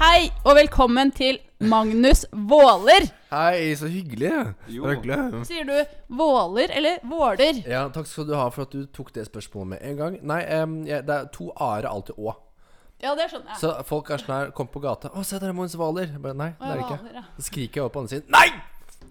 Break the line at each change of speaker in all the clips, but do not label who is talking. Hei og velkommen til Magnus Våler.
Hei, så hyggelig.
Jo.
Hyggelig.
Sier du Våler eller Våler?
Ja, takk skal du ha for at du tok det spørsmålet med en gang. Nei, em, jeg- det er to a-er alltid å.
Ja, det skjønner jeg.
Så folk er sånn her, kom på gata 'Å, se, der er Mons Hvaler'. Jeg Bare, nei, det er det
Hvaler, ja.
ikke. Så skriker jeg opp på andre siden 'Nei!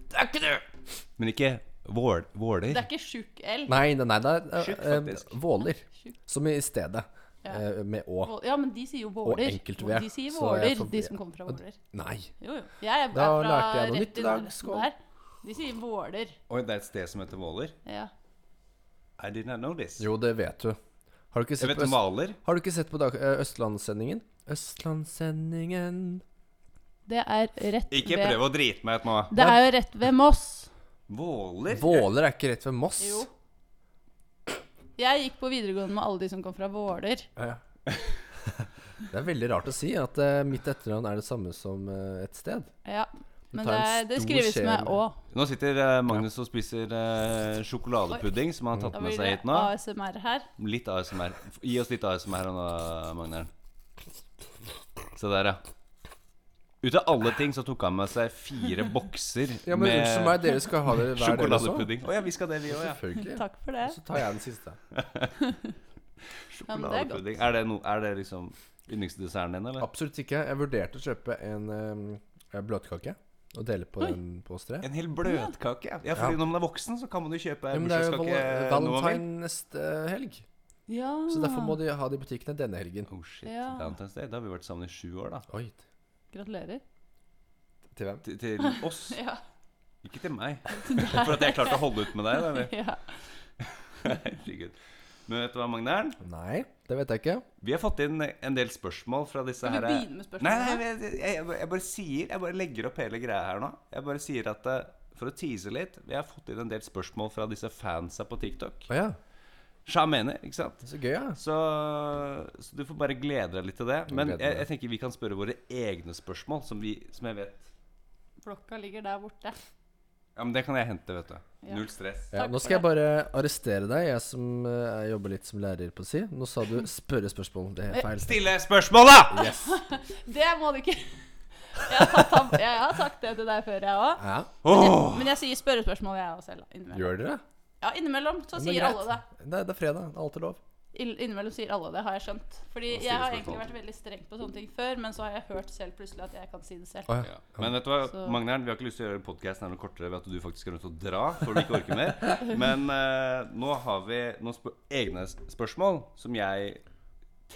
Det er ikke du!'
Men ikke vål,
Det
våler.
er ikke tjukk L.
Nei, nei, nei det er
Tjukk,
eh, em,
faktisk.
Våler.
Tjukk.
Som i stedet. eh, med å.
Vål- Ja, men de sier jo
Og
Våler.
enkelt V,
De sier
så jeg
Våler,
får-
de som kommer fra Våler.
Nei.
Jo, jo. Jeg er
Da
er fra
lærte jeg noe
rett
nytt i dag.
nordvesten
Skål.
der. De sier Våler.
Oi, det er et sted som heter Våler?
Ja.
I did not know this.
Jo, det vet du. Har du ikke
Jeg
sett
vet
på,
om
Øst
Hvaler.
har du ikke sett på dag eh, Østlandssendingen? Østlandssendingen
Det er rett
Ikke
ved
prøv å drite meg ut nå.
Det er jo rett ved Moss.
Våler?
Våler er ikke rett ved Moss.
Jo. Jeg gikk på videregående med alle de som kom fra Våler.
Ja, ja. Det er veldig rart å si at eh, mitt etternavn er det samme som eh, et sted.
Ja. Men
tar
det,
en
er- det
stor
skrives
skje
med
med-
Å.
Nå sitter eh, Magnus og spiser eh, sjokoladepudding som han har
Da
tatt med
blir
seg
det
hit nå.
ASMR her.
Litt ASMR. Gi oss litt ASMR nå, Magnar. Se der, ja. Ut av alle ting så tok han med seg fire bokser
Ja, men
med
Unnskyld meg, dere skal ha det hver dere også.
sjokoladepudding. liksom? Å ja, vi skal det, vi òg, ja.
Selvfølgelig.
Takk for det.
Så tar jeg den siste.
Ja, men det er godt.
Sjokoladepudding. Er det, no, er det liksom yndlingsdesserten din, eller?
Absolutt ikke. Jeg vurderte å kjøpe en eh, bløtkake og dele på
Oi.
den på oss tre.
En hel bløtkake, ja. ja fordi
Ja.
Når man er voksen, så kan man jo kjøpe
Ja, men det er jo val-
bursdagskake nå og vel.
valentine neste helg,
Ja.
så derfor må de ha det i butikkene denne helgen.
Oh shit,
Ja.
Valentine's Day. Da har vi vært sammen i sju år, da.
Oi.
Gratulerer.
Til hvem?
Til, til oss.
Ja.
Ikke til meg. For at jeg klarte å holde ut med deg. da, eller?
ja.
Herregud. Men vet du hva, Magnern?
Nei, det vet jeg ikke.
Vi har fått inn en del spørsmål fra disse
Skal vi
her
begynne med
Nei, nei,
spørsmålene?
jeg, jeg, jeg, jeg bare sier Jeg bare legger opp hele greia her nå. Jeg bare sier at eh, For å tease litt Vi har fått inn en del spørsmål fra disse fansa på TikTok.
Å ja.
Shamener, ikke sant?
Så gøy, ja.
Så, så du får bare glede deg litt til det. Men
gleder
jeg,
meg.
jeg tenker vi kan spørre våre egne spørsmål, som, vi, som jeg vet
Blokka ligger der borte.
Ja, men det kan jeg hente, vet du.
Ja.
Null stress.
Ja,
Takk
nå
for
skal jeg bare arrestere deg, jeg som eh, jeg jobber litt som lærer, på å si. Nå sa du 'spørre spørsmål'. Det er feil.
Stille spørsmål, da!
Yes.
Det må du ikke jeg har, tatt, ham- jeg har sagt det til deg før, jeg òg.
Ja,
Åh!
Men jeg sier spørrespørsmål, jeg òg selv. da, Innimellom.
gjør dere det?
Ja, innimellom så
Men
sier
greit.
alle det.
Det er, det er fredag. Det er alltid lov.
Ill- Innimellom sier alle det, har jeg skjønt. Fordi
Og
jeg har
stille
egentlig
spørsmål.
vært veldig streng på sånne ting før, men så har jeg hørt selv plutselig at jeg kan si det selv.
Å,
Ja.
ja.
Men vet du hva,
Så-
Magnern, vi har ikke lyst til å gjøre podkasten noe kortere ved at du faktisk er nødt til å dra. For du ikke orker mer Men eh, nå har vi noen spør egne s- spørsmål som jeg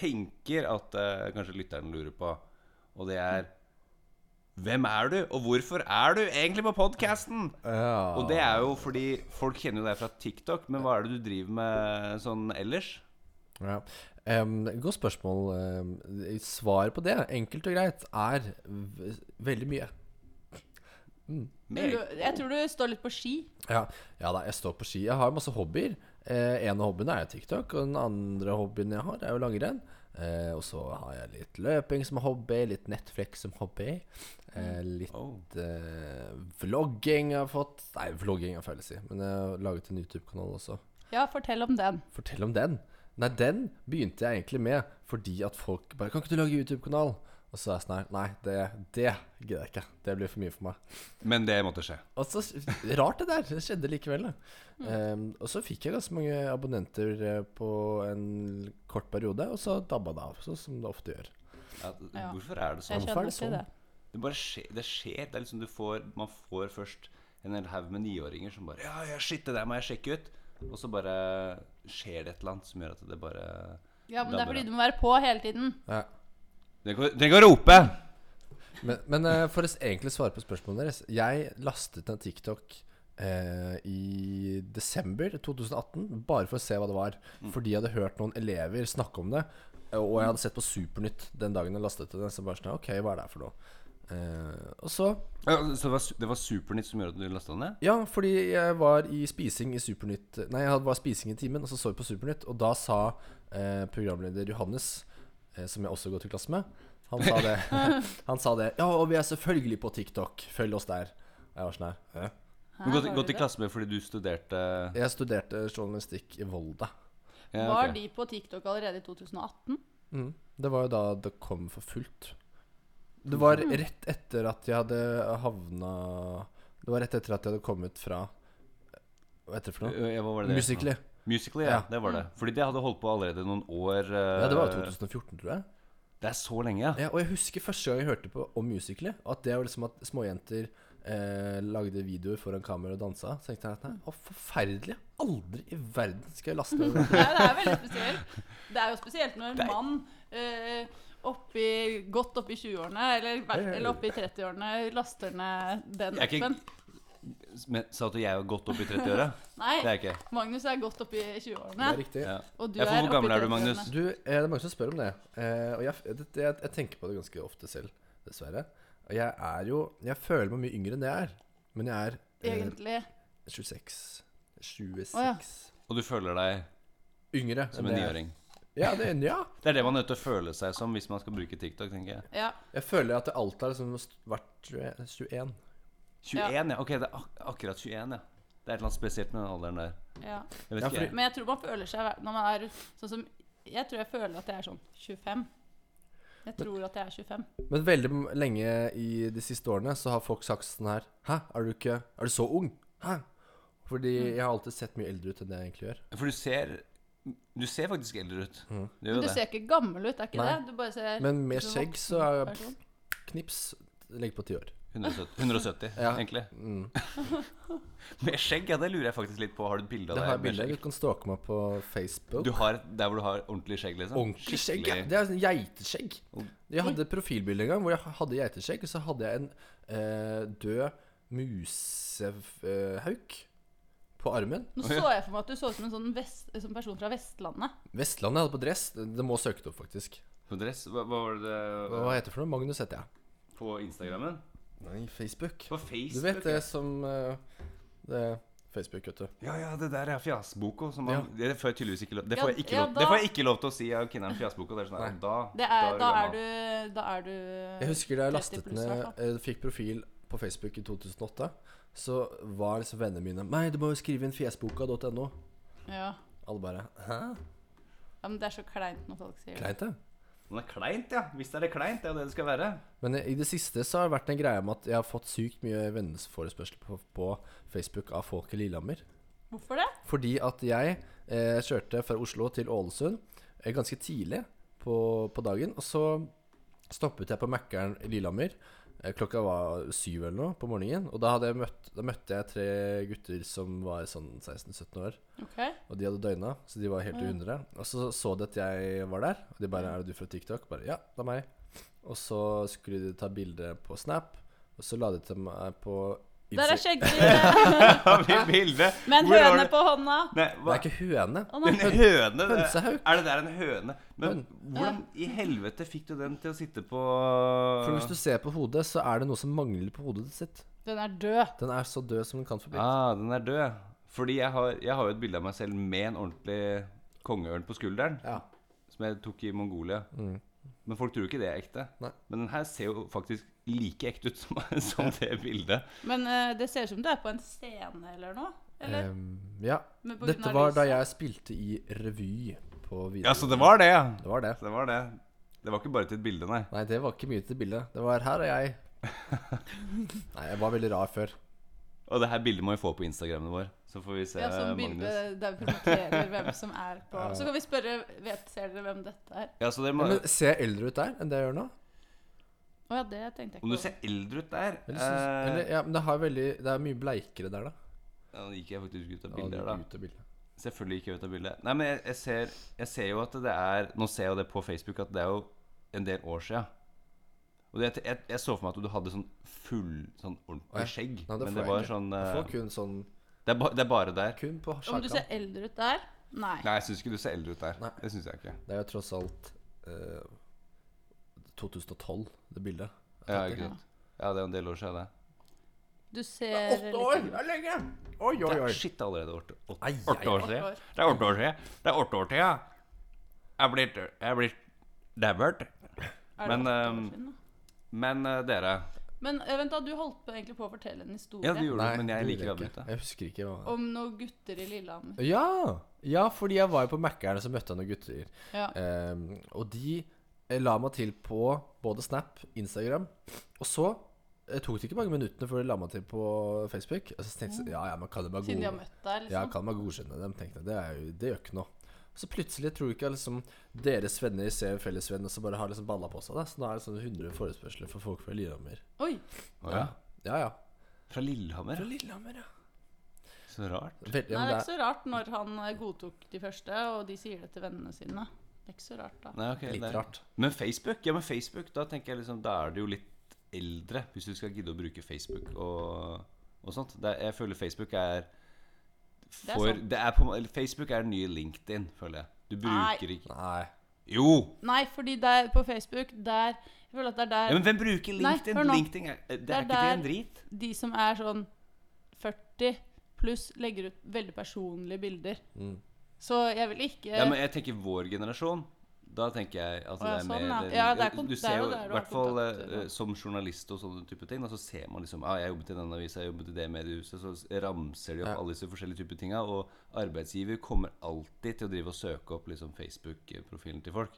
tenker at eh, kanskje lytterne lurer på. Og det er Hvem er du, og hvorfor er du egentlig på podkasten?
Ja.
Og det er jo fordi folk kjenner jo deg fra TikTok, men hva er det du driver med sånn ellers?
Ja. Em, godt spørsmål. Um, Svaret på det, enkelt og greit, er v veldig mye.
Men du- Jeg tror du står litt på ski.
Ja, ja da, jeg står på ski. Jeg har masse hobbyer. Eh, en av hobbyene er jo TikTok, og den andre hobbyen jeg har, er jo langrenn. Eh, og så har jeg litt løping som hobby, litt Netflix som hobby. Eh, litt
Oh.
eh, vlogging jeg har fått. Nei, vlogging er feil å si, men jeg har laget en YouTube-kanal også.
Ja, fortell om den.
Fortell om den. Nei, den begynte jeg egentlig med fordi at folk bare Kan ikke du lage YouTube-kanal? Og så er jeg sånn her Nei, det, det gidder jeg ikke. Det blir for mye for meg.
Men det måtte skje.
Og så Rart det der. Det skjedde likevel, da. Ehm, og så fikk jeg ganske mange abonnenter eh, på en kort periode, og så dabba det av. Sånn som det ofte gjør.
Ja,
Ja.
hvorfor er det
Jeg
Hvorfor
sånn?
er
kjenner
det
til
sånn?
det.
Det bare skjer. Det skjer. Det er liksom du får, man får først en hel haug med niåringer som bare Ja, ja, shit, det der må jeg sjekke ut. Og så bare skjer det et eller annet som gjør at det bare
Ja, men det er
dabber
fordi
av.
du må være på hele tiden.
Ja.
Tenk å- Tenk å rope!
Men, men eh, for å s- egentlig svare på spørsmålet deres Jeg lastet en TikTok eh, i desember 2018 bare for å se hva det var. Fordi jeg hadde hørt noen elever snakke om det. Og jeg hadde sett på Supernytt den dagen jeg lastet det. Så bare sånn, ok, hva er det her for noe? Eh, og så
Ja, så det var, su- det var Supernytt som gjorde at du lasta den ned?
Ja, fordi jeg var i spising i Supernytt Nei, jeg var i spising i timen, og så så vi på Supernytt. Og da sa eh, programleder Johannes, eh, som jeg også går til klasse med, han sa det. han sa det. Ja, og vi er selvfølgelig på TikTok. Følg oss der. Og jeg var sånn her. «Hæ?»
Du gått,
Her har
gått
du
i
det.
klasse med fordi du studerte
Jeg studerte journalistikk i Volda.
ja,
Var
ok.
de på TikTok allerede i 2018?
Det var jo da det kom for fullt. Det var rett etter at jeg hadde havna Det var rett etter at jeg hadde kommet fra Hva heter det for noe?
Ø, ja, Hva var det? det?
Musically.
Musical.ly, ja.
Ja.
Det var det. Fordi det hadde holdt på allerede noen år. eh,
Ja, det var jo 2014, tror jeg.
Det er så lenge, ja.
Ja, og jeg husker første gang jeg hørte på om Musically, at det var liksom at småjenter eh, lagde videoer foran kamera og dansa. Så tenkte jeg at nei, å, forferdelig. Aldri i verden skal jeg laste ned det.
Nei, det er veldig spesielt. Det er jo spesielt når en mann eh, oppi, godt oppi 20-årene, eller, hver-
Hei, hei.
eller oppi 30-årene, laster ned den
Jeg er ikke-
appen.
Men sa at jeg er godt opp i 30-åra?
Nei,
Det er jeg ikke.
Magnus er godt oppi
Det er
20-årene.
riktig.
Ja.
Og du
Ja, for
er
hvor
oppi
gammel er du,
30-årene.
Magnus?
Du, eh, det er mange som spør om det. Eh, og jeg, det, det, jeg, jeg tenker på det ganske ofte selv, dessverre. Og jeg er jo Jeg føler meg mye yngre enn det jeg er. Men jeg er eh,
Egentlig.
26 26
Å, ja.
Og du føler deg
yngre.
som
enn
en
det jeg er.
niåring?
Ja, det, ja.
Det er det man er nødt til å føle seg som hvis man skal bruke TikTok, tenker jeg.
Ja.
Jeg føler at det alltid har liksom st- vært 21.
21, ja. Ok, det er ak akkurat 21, ja. Det er et eller annet spesielt med den alderen der.
ja.
Jeg vet
Ja,
ikke,
fordi-
Men jeg tror man føler seg når man er sånn som Jeg tror jeg føler at jeg er sånn 25. Jeg tror at jeg er 25.
Men veldig m- lenge i de siste årene så har folk sagt sånn her Hæ, er du ikke Er du så ung? Hæ? Fordi jeg har alltid sett mye eldre ut enn det jeg egentlig gjør.
jeg. For du ser Du ser faktisk eldre ut.
Mm.
Du
Men
gjør
du
jo det.
ser ikke gammel ut, er ikke
Nei.
det? Du bare ser
Men
ut
med
som en
skjegg
voksen
så er jeg
person.
knips. Legg på ti år.
170, 170
Ja.
egentlig.
Mm.
Med skjegg, ja, det lurer jeg faktisk litt på. Har du et bilde
Det
av
har
deg
jeg
med
bilde.
skjegg?
Du kan stalke meg på Facebook.
Du har der hvor du har ordentlig skjegg, liksom?
Ordentlig skjegg. ja.
Skikkelig. Oh.
Det er sånn geiteskjegg.
Oi.
Jeg hadde et profilbilde en gang hvor jeg hadde geiteskjegg, og så hadde jeg en eh, død musehauk på armen.
Nå så jeg for meg at du så ut som en sånn vest, som person fra Vestlandet.
Vestlandet jeg hadde på dress. Det må søke det opp, faktisk.
På dress? Hva, hva var det
Hva hva heter det for noe? Magnus heter jeg.
På Instagrammen?
Nei, Facebook.
På Facebook?
Du vet det
ja.
som eh, det er Facebook, vet du.
Ja, ja, det der er fjasboka. Som man, Det får jeg tydeligvis ikke lov Det
Ja,
får jeg ikke
ja,
lov, det får jeg
da-
ikke lov til å si av Kinneren fjasboka. Det er sånn,
Nei.
da,
Det er, da, er
gammel.
du, da er du
Jeg husker da jeg
30
lastet
pluss,
ned
i hvert
eh, Fikk profil på Facebook i 2008. Så var liksom vennene mine Nei, du må jo skrive inn fjesboka.no.
Ja.
Alle bare Hæ?
ja, men det er så kleint når folk sier det.
Kleint, det.
Men det er kleint, ja. Hvis det er det kleint, det er jo det det skal være.
Men eh, i det siste så har det vært en greie med at jeg har fått sykt mye venneforespørsler på, på Facebook av folk i Lillehammer.
Hvorfor det?
Fordi at jeg eh, kjørte fra Oslo til Ålesund eh, ganske tidlig på, på dagen. Og så stoppet jeg på Mækkern i Lillehammer. Eh, klokka var syv eller noe på morgenen. Og da, hadde jeg møtt, da møtte jeg tre gutter som var sånn 16-17 år.
Ok.
Og de hadde døgna, så de var helt i hundre. Og så så de at jeg var der, og de bare 'Er det du fra TikTok?' Bare 'Ja, det er meg'. Og så skulle de ta bilde på Snap, og så la de til meg på
Der er
Insta-
skjeggdyret!
Har vi bilde?
Med en
Hvor var
høne
det-
på hånda.
Nei,
Det
hva?
er ikke høne.
Å
En
nei.
høne? det-
Hønsehauk.
Er det der en høne? Men
Høn-
hvordan i helvete fikk du den til å sitte på
For hvis du ser på hodet, så er det noe som mangler på hodet sitt.
Den er død.
Den er så død som den kan få blitt.
Ah, den er død. Fordi jeg har, jeg har jo et bilde av meg selv med en ordentlig kongeørn på skulderen.
Ja.
Som jeg tok i Mongolia. Men folk tror jo ikke det er ekte.
Nei.
Men den her ser jo faktisk like ekte ut som, som det bildet.
Men eh, det ser ut som du er på en scene eller noe. Eller?
Em, ja.
Men på grunn
Dette
av
var da
lyset.
jeg spilte i revy på videregående.
Ja, så det var det, ja.
Det var det.
Det var det. Det var ikke bare til et bilde, nei.
Nei, det var ikke mye til bildet. Det var 'her er jeg'. Nei, jeg var veldig rar før.
Og det her bildet må vi få på Instagrammen vår. Så får vi se,
Ja, som bilde
Eh, Magnus.
der vi markerer hvem som er på Så kan vi spørre vet, Ser dere hvem dette er?
Ja, så det må,
Men ser jeg eldre ut der enn det jeg gjør nå?
Å ja, det tenkte jeg ikke
om du
over.
ser eldre ut der
Eller, syns-
eh,
eller, ja, men det, har veldig, det er mye bleikere der, da.
ja, Nå gikk jeg faktisk ut av
Ja,
bildet her, da.
ut av bildet.
Selvfølgelig ikke ut av bildet. Nei, men jeg, jeg, ser, jeg ser jo at det er Nå ser jeg jo det på Facebook at det er jo en del år sia. Og det, jeg, jeg så for meg at du hadde sånn full, sånn
Å ja.
ordentlig skjegg.
Nei, det får
men det
jeg
var
ikke.
sånn
Jeg
eh,
får kun sånn
det, er ba, det er bare der.
Kun på
Om du
sjakan.
ser eldre ut der? Nei.
Nei, jeg syns ikke du ser eldre ut der.
Nei.
Det syns jeg ikke.
Det er jo tross alt eh, 2012, det bildet.
Ja, ikke sant. ja, det er jo en del år siden, det.
Du ser
Det er lenge! Oi, oi,
det
oi.
er shit, det er allerede åtte, åtte,
Ai, ai,
åtte år
ai.
Åtte år.
siden. Det er åtte år siden. Det er åtte år siden. Jeg er blitt Jeg er blitt
Er
dabbert.
det
Men,
åtte år
ehm,
siden, da?
Men eh, dere
Men eh, vent da, du holdt på, egentlig på å fortelle en historie
Ja, du gjorde
Nei,
det, men jeg
det
liker å
gjorde jeg
avbryte.
ikke. Jeg husker ikke hva
om noen gutter i Lillehammer.
Eh,
Ja! Ja, fordi jeg var jo på Mækkern, og så møtte jeg noen gutter.
Ja.
Ehm, og de eh, la meg til på både Snap, Instagram, og så eh, tok det ikke mange minuttene før jeg la meg til på Facebook. Og så tenkte jeg ja, ja, men kan det bare
Siden de
gå
har møtt deg,
ja,
liksom.
kan man godkjenne dem, tenkte jeg. Det, er jo, det gjør ikke noe. Så plutselig tror du ikke liksom, deres venner ser en fellesvenn og så bare har liksom balla på seg. Da. Så nå er det sånn 100 forespørsler for folk fra Lillehammer.
Oi!
Å, ja.
ja. ja.
Fra Lillehammer? ja.
Lillehammer, ja.
Så rart.
Nei,
Veldig, ja,
det er ikke
men det er,
så rart når han eh, godtok de første, og de sier det til vennene sine. Det er ikke så rart, da.
Nei, ok,
Litt
det er-
rart.
Men Facebook, ja, men Facebook, da tenker jeg liksom Da er du jo litt eldre, hvis du skal gidde å bruke Facebook og, og sånt. Det er, jeg føler Facebook er
er
for
sant.
det er på, en må- eller Facebook er den nye LinkedIn, føler jeg. Du
Nei.
bruker ikke
nei.
Jo!
Nei, fordi der, på Facebook, der Jeg føler at det er der
Ja, men hvem bruker
Nei,
LinkedIn?
hør nå.
LinkedIn er, det er,
Det er
ikke det
der-
en drit?
de som er sånn 40 pluss, legger ut veldig personlige bilder. Så jeg vil ikke
Mm. Ja, men jeg tenker vår generasjon. Da tenker jeg
Å,
at
ja,
det er
sånn,
mer
ja.
eh,
Ja, det er
du-
kon-
Du
det er
ser
jo
jo,
der
i
du har
hvert fall
kontakter,
eh,
ja.
som journalist og sånne type ting, da, så ser man liksom ah, 'Jeg jobbet i den avisa, jeg jobbet i det mediehuset', så s- ramser de opp
Ja.
alle disse forskjellige typer tinga. Og arbeidsgiver kommer alltid til å drive og søke opp liksom, Facebook-profilen til folk.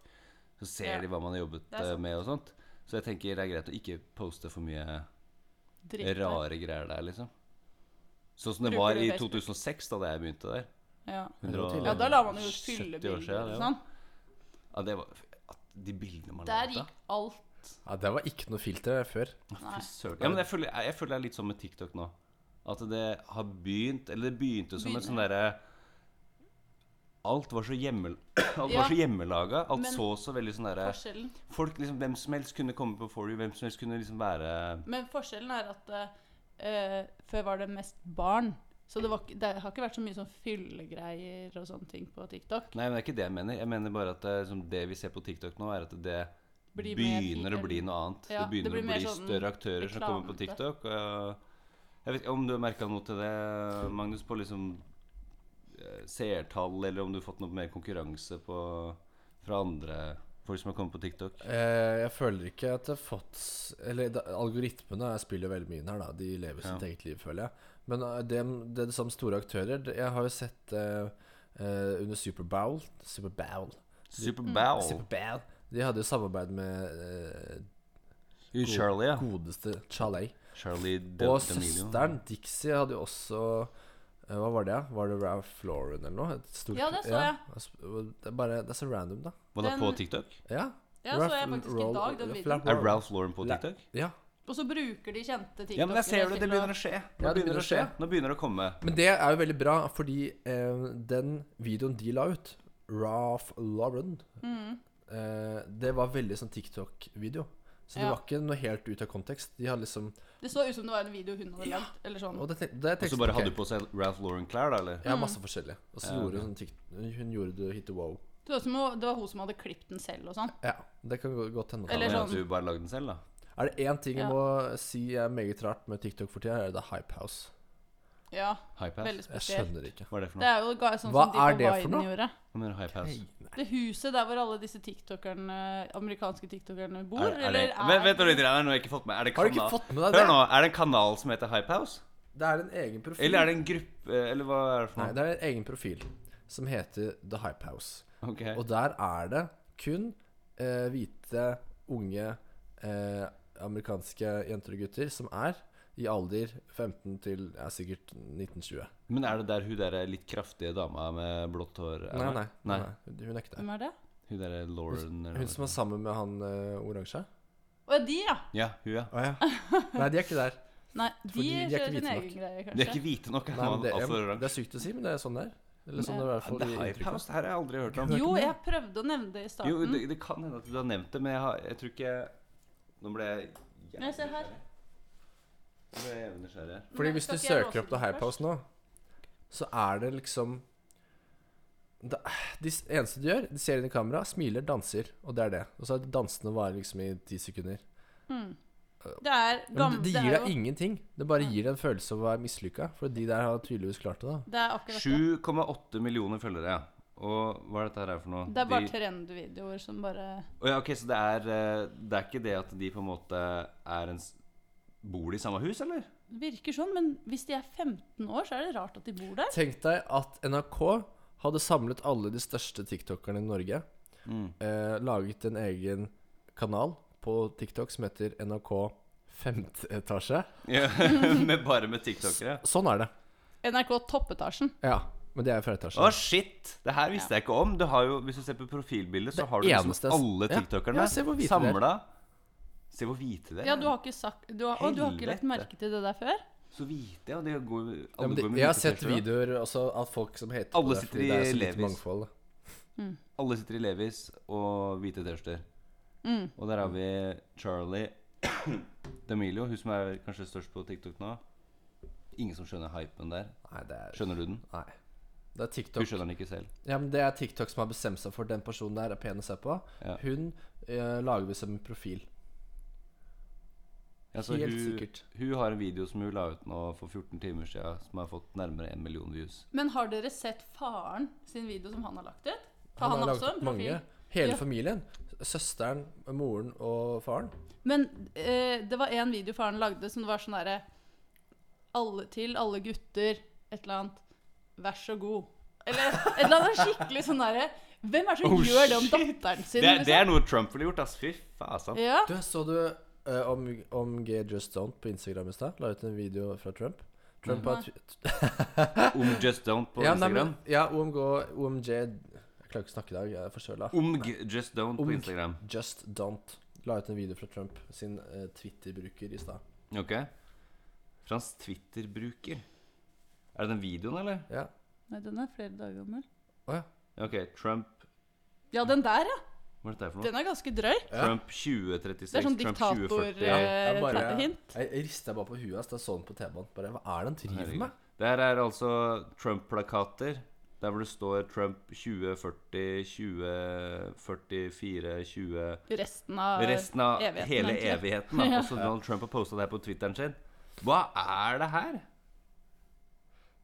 Så ser
Ja.
de hva man har jobbet
Det er
eh,
sant.
med og sånt. Så jeg tenker det er greit å ikke poste for mye
dritt der.
rare greier der, liksom. Sånn som det
Bruker
var
du
i
Facebook?
2006, da da jeg begynte der.
Ja.
Men det var
Hundre og-
ja, da la man jo
70
fylle
år
bilder
siden,
og
ja.
sånn.
Ja, det var at De bildene man
Der
lagde.
gikk alt
Ja, det var ikke noe filter før.
Nei.
Fy søren. Ja, men jeg føler, jeg, jeg føler det er litt sånn med TikTok nå. At det har begynt Eller det begynte som et
Begynner.
sånn derre Alt var så, hjemmel, alt
Ja.
var så hjemmelaga. Alt
Men-
så så veldig sånn derre
forskjellen.
Folk liksom, Hvem som helst kunne komme på For you, hvem som helst kunne liksom være
Men forskjellen er at eh, før var det mest barn. Så det, var, ikke- det har ikke vært så mye sånn fyllegreier og sånne ting på TikTok.
Nei, men det er ikke det jeg mener. Jeg mener bare at det, som det vi ser på TikTok nå, er at det
Blir mer
begynner å
fri-
bli noe annet.
Ja,
det begynner
det blir
å
mer
bli
sånn
større aktører som kommer på
reklamete.
TikTok. Og jeg vet ikke om du har merka noe til det, Magnus, på liksom eh, seertall, eller om du har fått noe mer konkurranse på, fra andre folk som har kommet på TikTok?
Eh, jeg føler ikke at det har fått s- Eller da, algoritmene spiller veldig mye inn her, da. De lever sitt
Ja.
eget liv, føler jeg. Men eh, det, det er som store aktører det- Jeg har jo sett eh, eh, under Superbowl Superbowl
Mm.
Superbowl.
Superbowl De hadde jo samarbeid med eh,
Jo, Charlie, ja.
godeste Chalay.
Charlie De
Og
D'Amelio.
søsteren Dixie hadde jo også eh, hva var det? da? Var det Ralph Lauren eller noe? Et stort-
Ja, det så
Det er, bare, det er så random, da.
Var det på
Den-
TikTok?
Ja.
Ja, så jeg faktisk i
Roll-
dag den
Ralph
videoen.
Er
Lauren.
Ralph Lauren på
La-
TikTok?
Ja.
Og så bruker de kjente TikTokere
Ja, men jeg ser det. Det
til å-
begynner å skje. Nå
Ja, det
begynner det å skje. Nå begynner det å komme.
Men det er jo veldig bra, fordi eh, den videoen de la ut, Ralph Lauren,
Mm.
eh, det var veldig sånn TikTok-video. Så det
Ja.
var ikke noe helt ut av kontekst. De hadde liksom
Det så ut som det var en video hun hadde lagd. Eller sånn.
Og det, tenk- det
Og så bare hadde du på seg Ralph Lauren-klær, da, eller?
Ja, masse forskjellig. Og så
Ja,
gjorde
ok.
hun sånn tikt- Hun gjorde det hit wow.
Det, var som, hun- det var hun som hadde klippet den selv og sånn.
Ja, det kan gå- godt hende.
Eller
Eller
sånn-
at du bare lagde den selv, da?
Er det én ting jeg
Ja.
må si er meget rart med TikTok for tida, er det Hype House.
Ja, veldig
Hypehouse?
Jeg
spesielt.
skjønner ikke.
Hva er det
Det
for noe?
er jo ga- sånn
Hva
som de på
er det for
Vine
noe?
gjorde.
Hva mener du, Hypehouse?
Altså.
Det huset der hvor alle disse tiktokerne, amerikanske tiktokerne bor,
Er, er det,
eller
vent, vent, litt, Ragnar, nå har jeg ikke fått med. Er det
Har du ikke
kanal-
fått med deg det?
Hør nå, er det en kanal som heter Hypehouse?
Det er en egen profil.
Eller er det en gruppe Eller hva er det for
Nei,
noe?
det er en egen profil som heter The Hype House.
Ok.
Og der er det kun eh, hvite, unge eh, amerikanske jenter og gutter som er i alder 15 til ja, sikkert 1920.
Men er det der hun der litt kraftige dama med blått hår er?
Nei, nei. nei.
nei.
Hun hun er ikke det.
Hvem er det?
Hun der Lauren eller
Hun som
noe.
er sammen med han eh, oransje?
Å, ja, de, ja.
Ja, hun, ja.
Å ja. Nei, de er ikke der.
Nei, de,
Fordi de er
kjører
ikke
sin
hvite
egen greie,
nok.
De er
kanskje.
ikke hvite nok.
Nei, men det,
altså,
ja,
Ragnar.
det er sykt å si, men det er sånn det er. Eller sånn det er i hvert
Ja,
fall
det
i
er
inntrykket.
Hypehouse, det her har jeg aldri hørt om.
Jo, jeg prøvde å nevne det i starten.
Jo, det, det kan hende at du har nevnt det, men jeg, har, jeg tror ikke Nå ble jeg jævlig
Nei, se her.
nysgjerrig. Nå ble jeg jævlig nysgjerrig her.
Fordi
Men
hvis
skal
du
ikke jeg
søker
låse
opp The
den først?
Hypehouse nå, så er det liksom det, de s- eneste du gjør, de ser inn i kamera, smiler, danser, og det er det. Og så er dansene varer liksom i ti sekunder.
Det er
Ja,
gamle
Men det, det
er
gir deg
jo-
ingenting. Det bare gir deg en følelse av å være mislykka. For de der har tydeligvis klart det, da.
Det er akkurat det.
7,8 millioner følgere, ja. Og hva er dette her for noe?
Det er bare
de,
trendvideoer som bare
Å ja, ok, Så det er, eh, det er ikke det at de på en måte er en s- Bor de i samme hus, eller?
virker sånn. Men hvis de er 15 år, så er det rart at de bor der.
Tenk deg at NRK
Mm.
hadde samlet alle de største tiktokerne i Norge. Eh, laget en egen kanal på TikTok som heter NRK femte etasje.
Ja, med, bare med tiktokere.
Sånn er det.
NRK Toppetasjen.
Ja, men det er jo fra
Å,
etasje.
shit! Det her visste jeg ikke om. Du har jo, hvis du ser på profilbildet, så
Det
har du liksom
eneste-
alle
Ja.
tiktokerne
Ja, se hvor hvite de er.
samla. Se hvor hvite de er.
Ja, du har ikke sagt du har, Og du har ikke lagt
Helvete.
merke til det der før?
Så hvite, ja. De går,
Ja,
alle
men
går
de,
med
jeg har
hvite
sett
t-skjorter, da.
videoer også av folk som heter
Alle
på det,
sitter
fordi
i
det er så lite
Levis.
mangfold.
Alle sitter i Levis og hvite T-skjorter. Og der har vi Charlie D'Amilio, hun som er kanskje størst på TikTok nå. Ingen som skjønner hypen der.
Nei, det er
Skjønner du den?
Nei. Det er
Hun
TikTok.
skjønner den ikke selv.
Ja, men det er TikTok som har bestemt seg for den personen der er pen å se på.
Ja.
Hun eh, lager vi som en profil.
Ja, så
Helt
hun,
sikkert.
Hun har en video som hun la ut nå for 14 timer siden, som har fått nærmere en million views.
Men har dere sett faren sin video som han har lagt ut? For han,
Han har
har
laget
også en
opp
profil.
mange. Hele
Ja.
familien. Søsteren, moren og faren.
Men eh, det var en video faren lagde som det var sånn derre Alle til alle gutter, et eller annet. Vær så god. Eller et eller annet skikkelig sånn derre Hvem er det som
Oh,
gjør det om
shit.
datteren sin?
Det, er- det
liksom?
er noe Trump ville gjort, ass. Fy faen.
Ja.
Du, så du eh, om, om G Just Don't på Instagram i stad? La ut en video fra Trump. Trump har tw-
Om Um, Just Don't på
ja, nei, men,
Instagram.
ja, OMG, OMJ Jeg klarer ikke å snakke i dag, jeg er forkjøla.
Om Um, G- Just Don't
Om
på
G-
Instagram.
Just Don't la ut en video fra Trump sin eh, Twitter-bruker i stad.
Ok. Fra hans Twitter-bruker. Er det den videoen, eller?
Ja.
Nei, den er flere dager gammel.
Å ja.
Ok, Trump
Ja, den der, ja.
Hva er dette her for noe?
Den er ganske drøy.
Ja.
Trump 2036.
Det er sånn eh,
Trump 2040.
Jeg, bare,
diktator-hint.
jeg, jeg rista bare på huet hans da jeg så den sånn på T-banen. Bare, Hva er det han driver
Herregud.
med?
Det her er altså Trump-plakater. Der hvor det står Trump 2040, 2044, 20...
Resten av
Resten av
evigheten,
hele
egentlig.
evigheten. Da.
Ja.
Og så Donald Trump har posta det her på Twitteren sin. Hva er det her?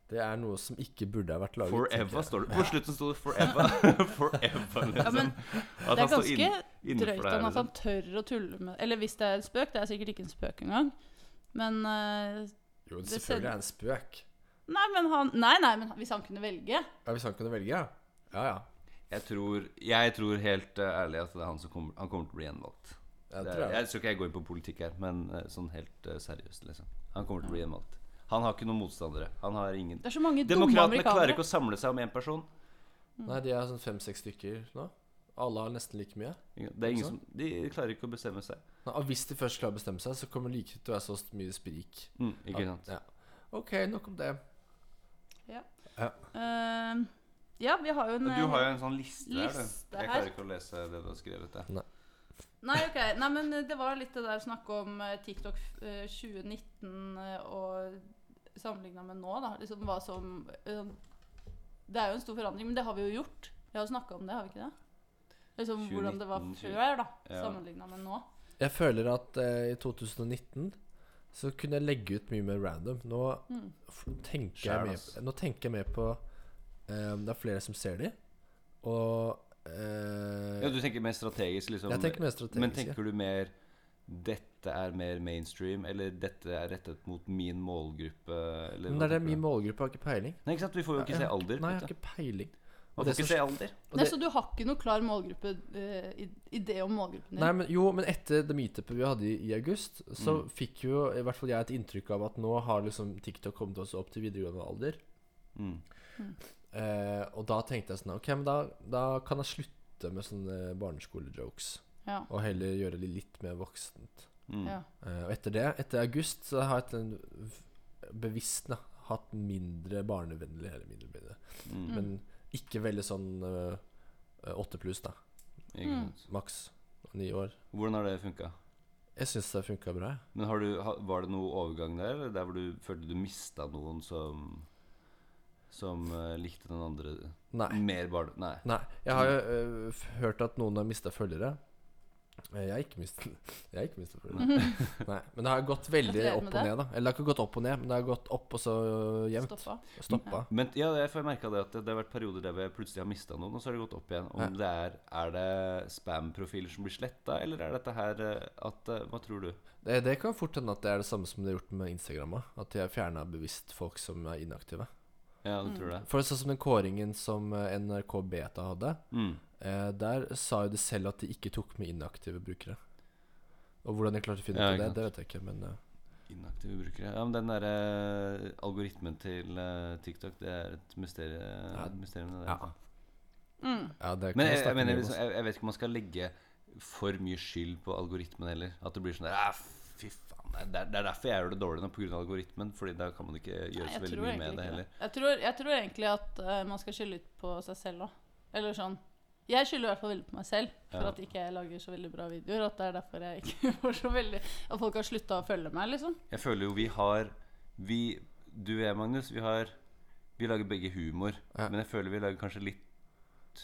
Det er noe som ikke burde ha vært laget. tenker
Forever
jeg.
står det. På slutten sto det 'forever'. forever liksom.
Ja, men
At
Det
han
er
står
ganske
innenfor det
drøyt
her,
om at
liksom.
han tør å tulle med Eller hvis det er en spøk, det er sikkert ikke en spøk engang. Men eh,
Jo, det
Det
selvfølgelig
ser-
er en spøk.
Nei, men han Nei, nei, men hvis han kunne velge
Ja, Hvis han kunne velge, ja. Ja, ja.
Jeg tror, jeg tror helt eh, ærlig at det er han som kommer, han kommer til å bli gjenvalgt.
Jeg
Det
tror
er,
jeg.
jeg tror ikke jeg går inn på politikk her, men eh, sånn helt eh, seriøst, liksom. Han kommer til å bli gjenvalgt. Han har ikke noen motstandere. Han har ingen
Det er så mange dumme
Demokratene klarer
amerikanere.
ikke å samle seg om én person.
Nei, de er sånn fem-seks stykker nå. Alle har nesten like mye.
Det er
Ikke
ingen som,
sant?
de klarer ikke å bestemme seg.
Nei, og hvis de først klarer å bestemme seg, så kommer det like til å være så mye sprik.
Mm, ikke sant?
Ja. OK, nok om det.
Ja.
Ja.
Eh, ja, vi har jo en eh,
Men Du har jo en sånn liste, der,
liste
du. Jeg
her.
klarer ikke å lese det du har skrevet. Der.
Nei, ok. Nei, men det var litt det der snakk om eh, TikTok eh, 2019 eh, og sammenligna med nå, da. Liksom hva som eh, Det er jo en stor forandring, men det har vi jo gjort. Vi har jo snakka om det, har vi ikke det? Liksom hvordan det var
2019,
før, da.
ja.
Sammenligna med nå.
Jeg føler at eh, i 2019 så kunne jeg legge ut mye mer random. Nå,
Mm.
f tenker,
Skjær,
jeg
ass.
mer, nå tenker jeg mer på eh, Det er flere som ser de, og eh,
Ja, du tenker mer strategisk, liksom.
Jeg tenker mer strategisk,
Men tenker du mer dette er mer mainstream, eller dette er rettet mot min målgruppe? Eller
Men
hva
det er det
tenker
min
du?
målgruppe har ikke peiling.
Nei, ikke sant? Vi får jo ikke
Jeg
se
har
alder.
Nei,
vet
jeg har
du.
ikke peiling. Og
Man
det
får ikke
som-
se alder.
og
Nei,
det-
så du har ikke noe klar målgruppe eh, i- idé om målgruppen din?
Nei, men, jo, men etter det meetupet vi hadde i, i august, så fikk jo i hvert fall jeg et inntrykk av at nå har liksom TikTok kommet oss opp til videregående alder.
Mm.
Eh, og da tenkte jeg sånn Ok, men da, da kan jeg slutte med sånne barneskolejokes.
ja.
Og heller gjøre det litt mer voksent.
Mm.
Ja.
Eh, og etter det, etter august, så har jeg hatt en bevisst da, hatt mindre barnevennlig Eller mindre mindre.
Mm.
Men ikke veldig sånn eh, åtte pluss, da.
Mm,
Ikke sant.
Maks ni år.
Hvordan har det funka?
Jeg syns det funka bra. jeg.
Men har du, ha- var det noe overgang der, eller der hvor du følte du mista noen som som eh, likte den andre
Nei.
mer bare Nei.
Nei, jeg har jo øh, f- hørt at noen har mista følgere. Eh, Jeg har ikke mistet Jeg har ikke mistet følgere. Nei, men det har gått veldig
Mhm. Gratulerer
opp
med
og
det.
ned, da. Eller det har ikke gått opp og ned, men det har gått opp og så øh, jevnt. Stoppa.
Stoppa.
Men ja, jeg får merka det at det, det har vært perioder der hvor jeg plutselig har mista noen, og så har det gått opp igjen. Om
Ja.
det er, er det spam-profiler som blir sletta, eller er dette her eh, at eh, Hva tror du?
Det, det kan fort hende at det er det samme som det har gjort med Instagram. da. At de har fjerna bevisst folk som er inaktive.
Ja, du tror det?
For sånn som den kåringen som eh, NRK Beta hadde,
Mm.
eh, der sa jo de selv at de ikke tok med inaktive brukere. Og hvordan jeg klarte å finne
Ja,
ut av det,
ikke
det vet jeg ikke. Men eh,
Inaktive brukere. Ja, men den derre algoritmen til eh, TikTok, det er et mysterie, mysterium. Det der.
ja.
Mm.
ja, det kan vi
Men jeg, jeg,
snakke mye
mener,
om,
liksom,
altså.
jeg, jeg vet ikke om man skal legge for mye skyld på algoritmen heller. At det blir sånn der «Ah, Fy faen. nei, Det er, det er derfor jeg gjør det dårlig nå, pga. algoritmen. Fordi da kan man ikke gjøre
Nei,
så
jeg
veldig
tror
mye
egentlig
med det
ikke
heller.
Jeg tror, jeg tror egentlig at eh, man skal skylde litt på seg selv òg. Eller sånn. Jeg skylder i hvert fall veldig på meg selv for
Ja.
at ikke jeg lager så veldig bra videoer. At det er derfor jeg ikke får så veldig At folk har slutta å følge meg, liksom.
Jeg føler jo vi har vi, Du og jeg, Magnus, vi har Vi lager begge humor.
Ja.
Men jeg føler vi lager kanskje litt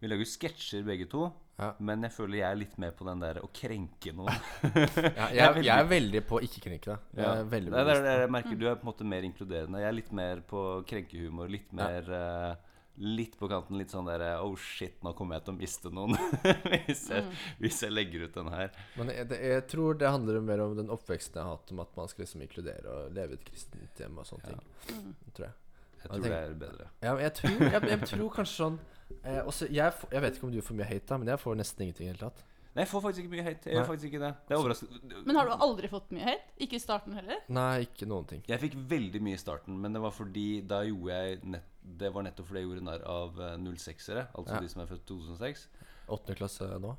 Vi lager jo sketsjer begge to.
Ja.
Men jeg føler jeg er litt med på den der å krenke noen.
Ja,
jeg er
jeg, jeg er veldig på å ikke krenke deg. Jeg
Ja.
er veldig
Nei, det er,
bevisst.
det er- jeg merker Du er på en måte mer inkluderende. Jeg er litt mer på krenkehumor. Litt mer eh, Litt på kanten. Litt sånn der eh, Oh shit, nå kommer jeg til å miste noen. hvis, jeg,
Mm.
hvis jeg legger ut den her.
Men jeg, det, jeg tror det handler mer om den oppveksten jeg har hatt, om at man skal liksom inkludere og leve i et kristent hjem og sånne
Mm.
ting. Tror jeg.
Jeg
Ja,
tror
tenk-
det er bedre.
Ja, men jeg, tror, jeg, jeg tror kanskje sånn eh, også, jeg, f- jeg vet ikke om du får mye hate, da, men jeg får nesten ingenting i det hele tatt.
Nei, jeg får faktisk ikke mye hate. Jeg gjør
Nei.
faktisk ikke det. Det er overraskende.
Men har du aldri fått mye hate? Ikke i starten heller?
Nei, ikke noen ting.
Jeg fikk veldig mye i starten, men det var fordi da gjorde jeg nett, Det var nettopp fordi jeg gjorde narr av eh, 06-ere, altså
Ja.
de som er født 2006.
Åttende klasse nå?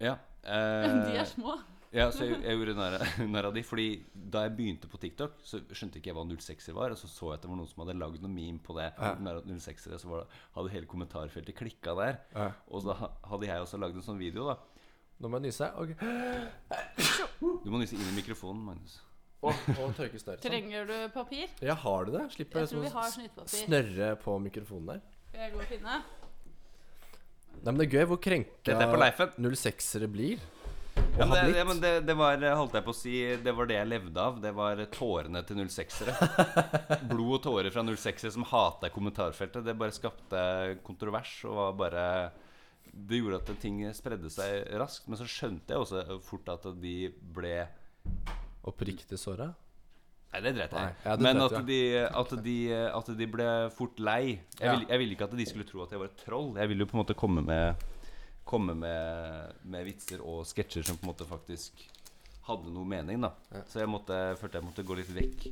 Ja.
De
eh,
er små.
Ja, så jeg, jeg gjorde narr narr av de. Fordi da jeg begynte på TikTok, så skjønte ikke jeg hva 06-er var. Og så så jeg at det var noen som hadde lagd noen meme på det.
Ja.
Narr av 06-ere, så var det, hadde hele kommentarfeltet klikka der.
Ja.
Og da ha- hadde jeg også lagd en sånn video, da.
Nå må jeg nyse. Ok.
Du må nyse inn i mikrofonen, Magnus.
Og, og tørke snørret. Sånn.
Trenger du papir?
Ja, har du det? Slipper
Jeg tror vi har
sånn
snytepapir.
snørre på mikrofonen der.
Skal jeg gå og finne?
Nei, men det er gøy hvor krenka
Dette er på Leifen.
06-ere blir. Og
Ja, men
har
det,
blitt.
ja, men det, det var, eh, holdt jeg på å si, det var det jeg levde av. Det var tårene til 06-ere. Blod og tårer fra 06-ere som hata kommentarfeltet. Det bare skapte kontrovers og var bare Det gjorde at ting spredde seg raskt. Men så skjønte jeg også fort at de ble
Oppriktig såra.
Nei, det dreit jeg
Nei,
i.
ja, det
Men
dreit
at de, at, de, at de ble fort lei. Jeg
Ja.
ville jeg ville ikke at de skulle tro at jeg var et troll. Jeg ville jo på en måte komme med Komme med, med vitser og sketsjer som på en måte faktisk hadde noe mening. da Så jeg måtte, følte jeg måtte gå litt vekk.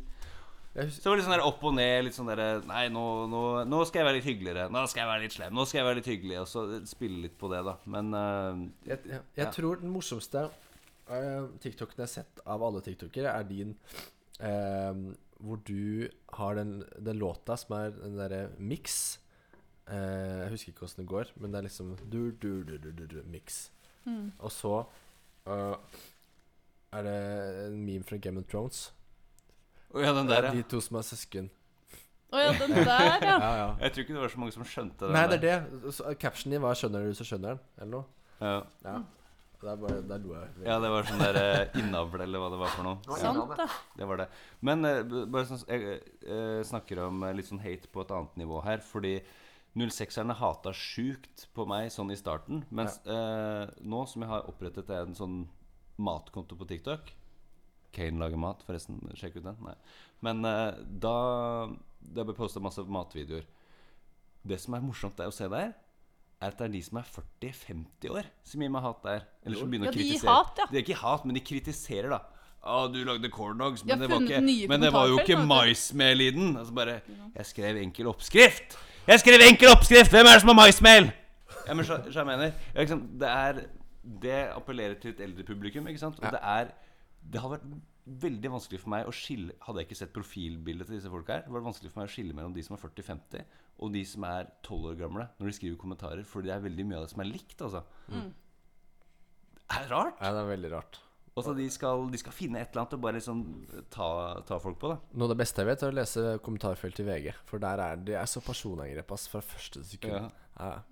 Jeg
Så det var litt sånn der opp og ned. Litt sånn der, Nei, nå, nå, nå skal jeg være litt hyggeligere. Nå skal jeg være litt slem. Nå skal jeg være litt hyggelig. Og så spille litt på det, da. Men eh,
Jeg, jeg, jeg
Ja.
tror den morsomste uh, TikToken jeg har sett av alle TikTokere, er din eh, hvor du har den, den låta som er den derre mix. Eh, jeg husker ikke åssen det går, men det er liksom du, du, du, du, du, du, mix. Og så eh, er det en meme fra Game of Thrones.
Å ja, den der,
De
ja.
to som er søsken.
Å ja, den der, ja.
Ja, ja.
Jeg tror ikke det var så mange som skjønte den
Nei, det er det. Så, eh, Captionen din var 'Skjønner du, så skjønner den', eller noe.
Ja.
Ja. Det er bare Der lo jeg. veldig.
Ja, det var sånn der eh, innavl, eller hva det var for noe. Ja,
Sant, da.
det var det. Men eh, b- bare sånn, jeg eh, snakker om eh, litt sånn hate på et annet nivå her, fordi 06-erne hata sjukt på meg sånn i starten. Mens eh, nå som jeg har opprettet en sånn matkonto på TikTok Kane lager mat, forresten. Sjekk ut den. Nei. Men eh, da det ble posta masse matvideoer. Det som er morsomt der å se der, er at det er de som er 40-50 år, som gir meg hat der. Eller som begynner
Ja,
å
de gir
kritisere.
hat, ja.
Det er ikke hat, men de kritiserer, da. Å, du lagde corndogs,
Jeg
men,
har
det var,
funnet nye
ikke, men det var jo
kommentarfelt,
ikke
vet du.
maismel i den. Altså bare Jeg skrev enkel oppskrift! Jeg skrev enkel oppskrift! Hvem er det som har maismel? Ja, men så, så jeg mener ja, ikke sant? Det er Det appellerer til et eldre publikum, ikke sant? Og det er Det hadde vært veldig vanskelig for meg å skille Hadde jeg ikke sett profilbildet til disse folka her, var det vanskelig for meg å skille mellom de som er 40-50, og de som er 12 år gamle, når de skriver kommentarer, fordi det er veldig mye av det som er likt, altså.
Mm.
Det er rart.
Nei, det er veldig rart.
Altså, de skal, de skal finne et eller annet og bare liksom ta, ta folk på, da.
Noe av det beste jeg vet, er å lese kommentarfelt i VG. For der er det er så personangrep ass, fra første sekund.
Ja.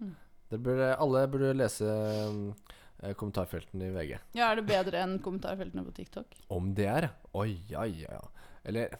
Ja. Det burde, alle burde lese mm, eh, kommentarfeltene i VG.
Ja, er det bedre enn kommentarfeltene på TikTok?
Om det er Oi, ja, ja, ja. Eller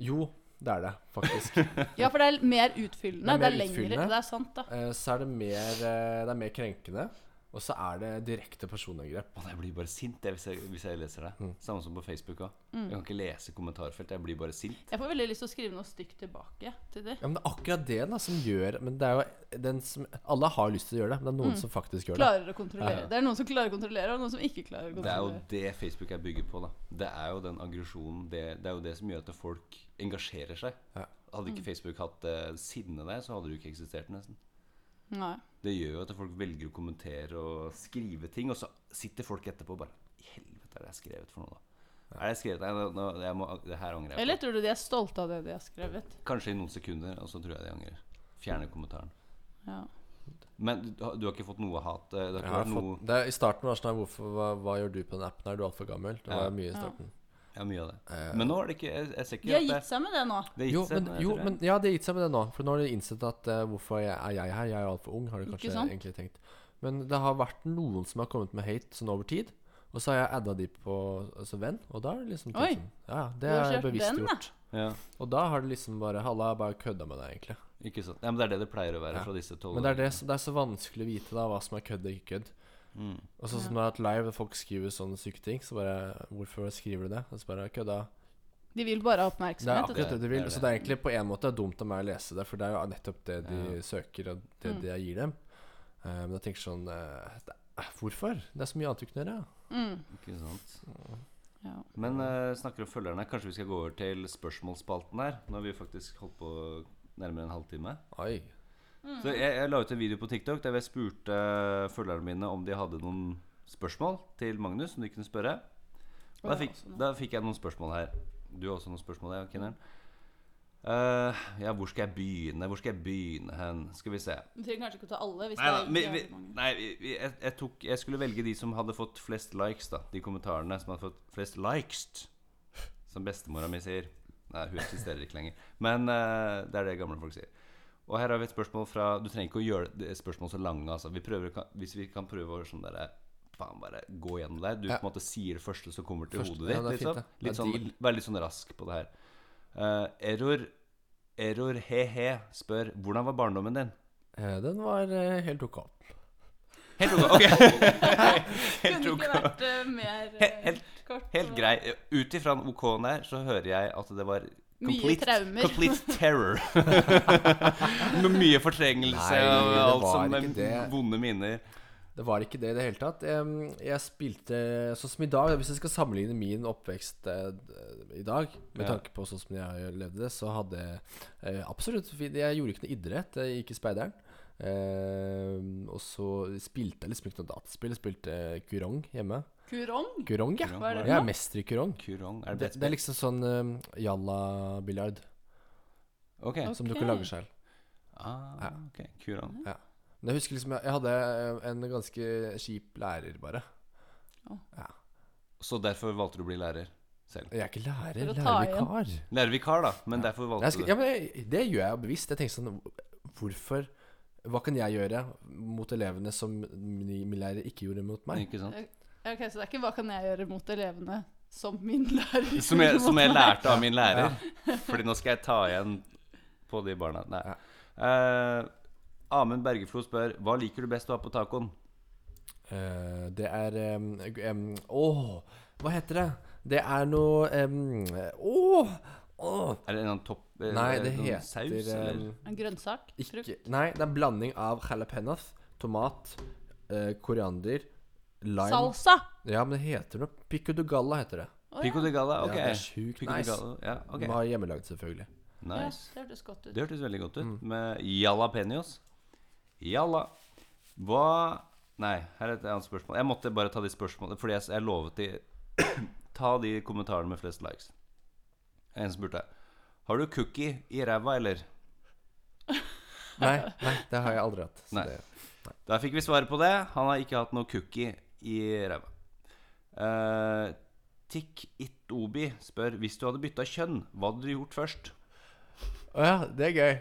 Jo, det er det, faktisk.
Ja, for det er mer utfyllende.
Det
Det er
er mer
lengre.
utfyllende.
Det er sant, da.
Eh, så er det mer eh, Det er mer krenkende. Og så er det direkte personangrep.
Å, jeg blir bare sint jeg, hvis, jeg, hvis jeg leser det. Samme som på Facebook òg. Jeg kan ikke lese kommentarfelt. Jeg blir bare sint.
Jeg får veldig lyst til å skrive noe stygt tilbake til de.
Ja, men det er akkurat det da som gjør Men det er jo den som Alle har lyst til å gjøre det, men det er noen som faktisk gjør det.
Klarer å kontrollere. Det er noen som klarer å kontrollere, og noen som ikke klarer å
Det er jo
kontrollere.
det Facebook er bygget på. da Det er jo den aggresjonen det, det er jo det som gjør at folk engasjerer seg.
Ja.
Hadde ikke Facebook hatt eh, sinne der, så hadde du ikke eksistert, nesten.
Nei.
Det gjør jo at folk velger å kommentere og skrive ting, og så sitter folk etterpå og bare I helvete, er det jeg skrevet for noe, da? Er det jeg skrevet Nei, nå, nå- jeg må, det her angrer jeg på.
Eller tror du de er stolte av det de har skrevet?
Kanskje i noen sekunder, og så tror jeg de angrer. Fjerner kommentaren.
Ja.
Men du, du har ikke fått noe hat? eh, Det
Jeg
har
har
ikke vært noe
fått, det er, I starten var det sånn her, hvorfor, hva, hva gjør du på den appen? Er du altfor gammel? Det var
Ja.
mye i
Ja.
starten.
Ja, mye av det. Men nå er det ikke Jeg, jeg ser
De
ikke
har
at
gitt
det,
seg med det nå.
det har
Eh, Jo,
gitt seg.
men,
nå,
jo,
tror jeg.
men ja, det har gitt seg med det nå. For nå har de innsett at eh, hvorfor jeg, er jeg her? Jeg er jo altfor ung, har de
Ikke
kanskje
sant?
egentlig tenkt. Men det har vært noen som har kommet med hate sånn over tid. Og så har jeg adda de på altså, venn, og da er det liksom
Oi.
tenkt sånn, Ja, det
Du har
er
kjørt
bevisst
den, da.
gjort.
ja,
Og da har det liksom bare Halla, jeg bare kødda med deg, egentlig.
ikke sant. Ja, men det er det det pleier å være
Ja.
fra disse tolv
Men det er, det, som- det er så vanskelig å vite da hva som er kødd og ikke kødd.
Mm.
Og sånn som når jeg har hatt live og folk skriver sånne syke ting, så bare Hvorfor skriver du det? Og så bare kødda.
De vil bare ha
Det er
oppmerksomhet. vet
akkurat det
det-
du vil.
det er
Så det er egentlig på en måte dumt av meg å lese det, for det er jo nettopp det de søker, og det de jeg gir dem. Eh, Men jeg tenker sånn eh, det- eh, Hvorfor? Det er så mye annet du kan gjøre.
du. Mm.
Ikke sant.
Ja.
Men eh, snakker om følgerne, kanskje vi skal gå over til spørsmålsspalten her? Nå har vi faktisk holdt på nærmere en halvtime.
Oi.
Mm.
Så jeg, jeg la ut en video på TikTok der jeg spurte eh, følgerne mine om de hadde noen spørsmål til Magnus som de kunne spørre. Og Da
Og jeg
fikk,
også altså, nå.
da fikk jeg noen spørsmål her. Du har også noen spørsmål, ja, Kenneren. Eh, ja, hvor skal jeg begynne? Hvor skal jeg begynne hen? Skal vi se.
Du trenger kanskje ikke å ta alle. hvis
Nei, da,
det
vi,
er
vi,
jævlig mange.
nei vi, vi, jeg, jeg, tok, jeg skulle velge de som hadde fått flest likes, da. De kommentarene som hadde fått flest likes. Som bestemora mi sier. Nei, hun eksisterer ikke lenger. Men eh, det er det gamle folk sier. Og her har vi et spørsmål fra Du trenger ikke å gjøre det- spørsmål så lange, altså. Vi prøver, å ka- hvis vi kan prøve å sånn derre Faen, bare gå gjennom der. Du
Ja.
på en måte sier det første som kommer til
Første-
hodet
ja,
ditt.
det er fint,
liksom.
det. Det
litt
er
sånn,
deal.
vær litt sånn rask på det her. Eh, error, error he-he spør Hvordan var barndommen din?
Eh, Den var eh, helt ok.
Helt ok. ok. helt
Kunne
ok.
ikke vært eh, mer eh,
Helt-
kort.
Helt
og-
grei. Ut ifra den OK-en der, så hører jeg at det var
Mye traumer.
complete terror. Med mye fortrengelse
Nei,
og
det
alt
var
som
ikke det.
vonde minner.
Det var ikke det i det hele tatt. Em, Jeg spilte sånn som i dag Hvis jeg skal sammenligne min oppvekst eh, d- i dag med
Ja.
tanke på sånn som jeg levde, så hadde jeg eh, absolutt fin- Jeg gjorde ikke noe idrett. Jeg gikk i speideren. Em, og så spilte jeg liksom ikke noe dataspill. Jeg spilte eh, kurong hjemme.
Kurong?
Kurong, ja.
Kurong,
hva er det for
Jeg
noe?
er mester i kurong.
Kurong er det
Det,
beste
det er liksom sånn um, jalla-biljard
Ok.
som du
Ok.
kan lage selv.
Ah, ok. Kurong.
Men jeg husker liksom Jeg, jeg hadde eh, en ganske kjip lærer, bare.
Så derfor valgte du å bli lærer selv.
Jeg er ikke
For
lærer,
å ta igjen.
lærervikar.
Lærervikar, da. Men derfor
Jeg
valgte
skal,
du
ja, men jeg, det gjør jeg bevisst. Jeg tenker sånn Hvorfor Hva kan jeg gjøre mot elevene som min min lærer ikke gjorde mot meg?
Ikke sant?
Ja, Ok, Så det er ikke 'hva kan jeg gjøre mot elevene' som min lærer?
Som jeg, som jeg
Nei.
lærte av min lærer. Fordi nå skal jeg ta igjen på de barna. Nei.
Ja.
Eh, Amund Bergeflo spør Hva liker du best å ha på tacoen?
Eh, det er um, Åh, hva heter det? Det er noe um, Åh! åh.
Er det en eller annen topp... eh,
Nei, det
noen
heter
saus,
eh,
eller?
En grønnsak?
ikke,
Frukt?
Nei, det er en blanding av jalapeños, tomat, eh, koriander, lime
Salsa!
Ja, men det heter noe Pico de galla heter det.
Å,
Pico de galla, ok.
Ja, det er sjukt
Pico de
nice.
galla, ja, ok.
De har hjemmelagd, selvfølgelig.
ja.
Nice.
ja, det hørtes godt ut.
Det hørtes veldig godt ut.
Mm.
Med jalapeños. Jalla. Hva Nei, her er et annet spørsmål. Jeg måtte bare ta de spørsmålene, fordi jeg, jeg lovet de Ta de kommentarene med flest likes. En spurte Har du cookie i ræva, eller?
Nei, nei, det har jeg aldri hatt. Så
Nei.
det,
Da fikk vi svaret på det. Han har ikke hatt noe cookie i ræva. Eh, Tikk It Obi spør hvis du hadde bytta kjønn, hva hadde du gjort først?
Å ja, det er gøy.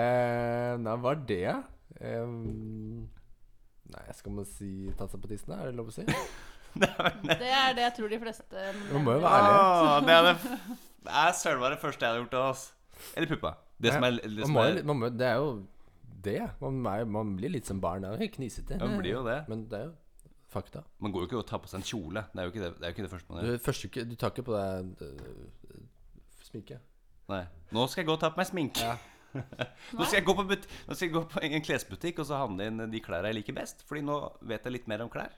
eh, nei, hva er det? Em, nei, skal man si tatt seg på tissen? Er det lov å si?
Det er det jeg tror de fleste eh,
må jo
mener.
være ærlig.
Åh, det er det, det er sølva det første jeg hadde gjort. ass. Eller puppa. Det som er, det
Man
som
må,
er
jo- man må, det er jo det. Man, er, man blir litt som barn. da. Knisete.
Man blir jo det.
Men det er jo fakta.
Man går jo ikke og tar på seg en kjole. Det er jo ikke det, det, er jo ikke det første man
Du,
gjør.
første, uke- du tar ikke på deg øh, sminke.
Nei. Nå skal jeg gå og ta på meg sminke. nå, skal jeg gå på but nå skal jeg gå på en klesbutikk og så handle inn de klærne jeg liker best. Fordi nå vet jeg litt mer om klær.